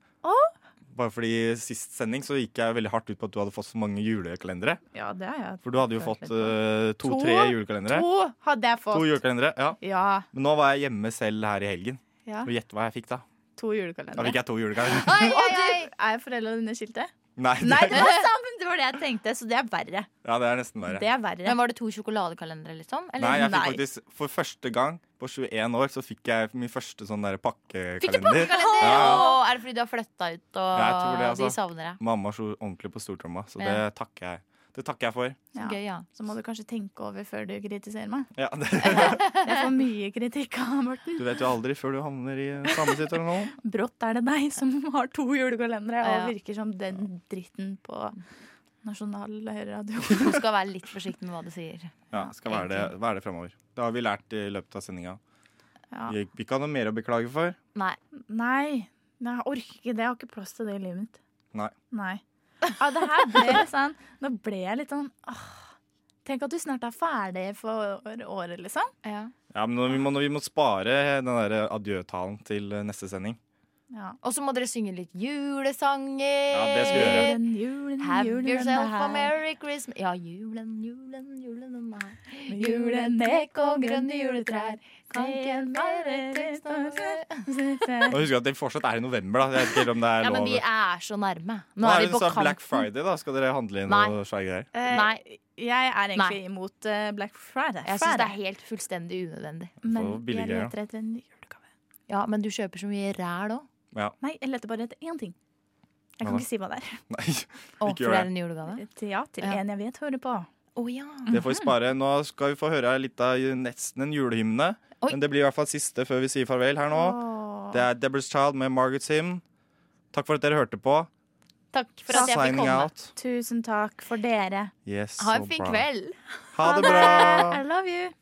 [SPEAKER 3] Bare fordi sist sending så gikk jeg veldig hardt ut på at du hadde fått så mange julekalendere.
[SPEAKER 7] Ja, det har jeg.
[SPEAKER 3] For du hadde jo
[SPEAKER 7] følt
[SPEAKER 3] fått
[SPEAKER 7] litt på. To-
[SPEAKER 3] to-tre julekalendere.
[SPEAKER 7] To hadde jeg fått.
[SPEAKER 3] To julekalendere, ja.
[SPEAKER 7] Ja.
[SPEAKER 3] Men nå var jeg hjemme selv her i helgen.
[SPEAKER 7] Ja.
[SPEAKER 3] Og gjett hva jeg fikk da.
[SPEAKER 7] To julekalendere.
[SPEAKER 3] Da fikk jeg to julekalendere.
[SPEAKER 7] Oi, oi, oi. Er foreldrene dine skilte?
[SPEAKER 3] Nei,
[SPEAKER 7] Nei, det var sammen! Det var det jeg tenkte, så det er verre.
[SPEAKER 3] Ja, det er nesten verre.
[SPEAKER 7] Det er verre.
[SPEAKER 4] Men var det to sjokoladekalendere, liksom? Eller?
[SPEAKER 3] Nei, jeg fikk faktisk For første gang på 21 år så fikk jeg min første sånn der pakkekalender.
[SPEAKER 4] Fikk du pakkekalender?
[SPEAKER 3] Ja, ja.
[SPEAKER 4] Å, er det fordi du har flytta ut, og
[SPEAKER 3] Jeg tror det, altså.
[SPEAKER 4] de savner deg?
[SPEAKER 3] Mamma slo ordentlig på stortromma, så det
[SPEAKER 4] Ja.
[SPEAKER 3] takker jeg. Det takker jeg for.
[SPEAKER 7] Ja. Så må du kanskje tenke over før du kritiserer meg.
[SPEAKER 3] Ja, det,
[SPEAKER 7] Det er for mye kritikk av Morten.
[SPEAKER 3] du vet jo aldri før du havner i samme situasjon.
[SPEAKER 7] Brått er det deg som har to julekalendere
[SPEAKER 4] Ja.
[SPEAKER 7] og virker som den dritten på nasjonalradio.
[SPEAKER 4] Du skal være litt forsiktig med hva du sier.
[SPEAKER 3] Ja, skal være det, være det fremover. Det har vi lært i løpet av sendinga.
[SPEAKER 7] Ja.
[SPEAKER 3] Vi vi ikke har noe mer å beklage for.
[SPEAKER 4] Nei.
[SPEAKER 7] Nei. Nei, jeg orker ikke det. Jeg har ikke plass til det i livet mitt.
[SPEAKER 3] Nei.
[SPEAKER 7] Nei. Ja, det her ble sånn Nå ble jeg litt sånn åh, Tenk at du snart er ferdig for året, liksom.
[SPEAKER 4] Ja.
[SPEAKER 3] Ja, men nå- vi må, nå- vi må spare den der adjø-talen til eh, neste sending.
[SPEAKER 4] Og så må dere synge litt julesanger.
[SPEAKER 3] Ja, det skal vi gjøre.
[SPEAKER 7] Julen, julen,
[SPEAKER 4] Have
[SPEAKER 7] julen
[SPEAKER 4] yourself
[SPEAKER 7] er
[SPEAKER 4] a
[SPEAKER 7] her.
[SPEAKER 4] merry Christmas. Ja, julen, julen, julen er her.
[SPEAKER 7] Med julenek og grønne juletrær. Kan ikke en være tilstående
[SPEAKER 3] Og husk at det fortsatt er i november, da. Jeg vet ikke helt om det er
[SPEAKER 4] Ja,
[SPEAKER 3] lov.
[SPEAKER 4] men vi er så nærme.
[SPEAKER 3] Nå
[SPEAKER 4] Nå er
[SPEAKER 3] det
[SPEAKER 4] vi på
[SPEAKER 3] sånn Black
[SPEAKER 4] kanten.
[SPEAKER 3] Friday, da. Skal dere handle inn
[SPEAKER 4] Nei.
[SPEAKER 3] noe svære greier?
[SPEAKER 7] Eh,
[SPEAKER 4] Nei.
[SPEAKER 7] Jeg er egentlig
[SPEAKER 4] Nei.
[SPEAKER 7] imot eh, Black Friday.
[SPEAKER 4] Jeg syns det er helt fullstendig unødvendig.
[SPEAKER 7] Men
[SPEAKER 3] For billige
[SPEAKER 7] jeg
[SPEAKER 3] greier,
[SPEAKER 7] leter etter en julegave.
[SPEAKER 4] Ja, men du kjøper så mye ræl òg.
[SPEAKER 3] Ja.
[SPEAKER 7] Nei, jeg leter bare etter én ting. Jeg
[SPEAKER 3] Hva
[SPEAKER 7] kan
[SPEAKER 3] da?
[SPEAKER 7] ikke si hva det er.
[SPEAKER 3] Nei,
[SPEAKER 4] Å,
[SPEAKER 3] ikke
[SPEAKER 4] for det
[SPEAKER 3] gjør
[SPEAKER 4] er
[SPEAKER 3] det.
[SPEAKER 4] en julegave?
[SPEAKER 7] Til- Ja, til en jeg vet hører på.
[SPEAKER 4] Å ja.
[SPEAKER 3] Det får vi spare. Nå skal vi få høre litt av nesten en julehymne.
[SPEAKER 4] Oi.
[SPEAKER 3] Men det blir i hvert fall siste før vi sier farvel her nå. Det er Deborah's Child med Margaret's Hymn. Takk for at dere hørte på.
[SPEAKER 4] Takk for at jeg fikk
[SPEAKER 3] Signing
[SPEAKER 4] komme.
[SPEAKER 3] out.
[SPEAKER 7] Tusen takk for dere.
[SPEAKER 3] Yes,
[SPEAKER 4] Ha en
[SPEAKER 3] så
[SPEAKER 4] fin
[SPEAKER 3] bra.
[SPEAKER 4] kveld.
[SPEAKER 3] Ha det bra.
[SPEAKER 7] I love you.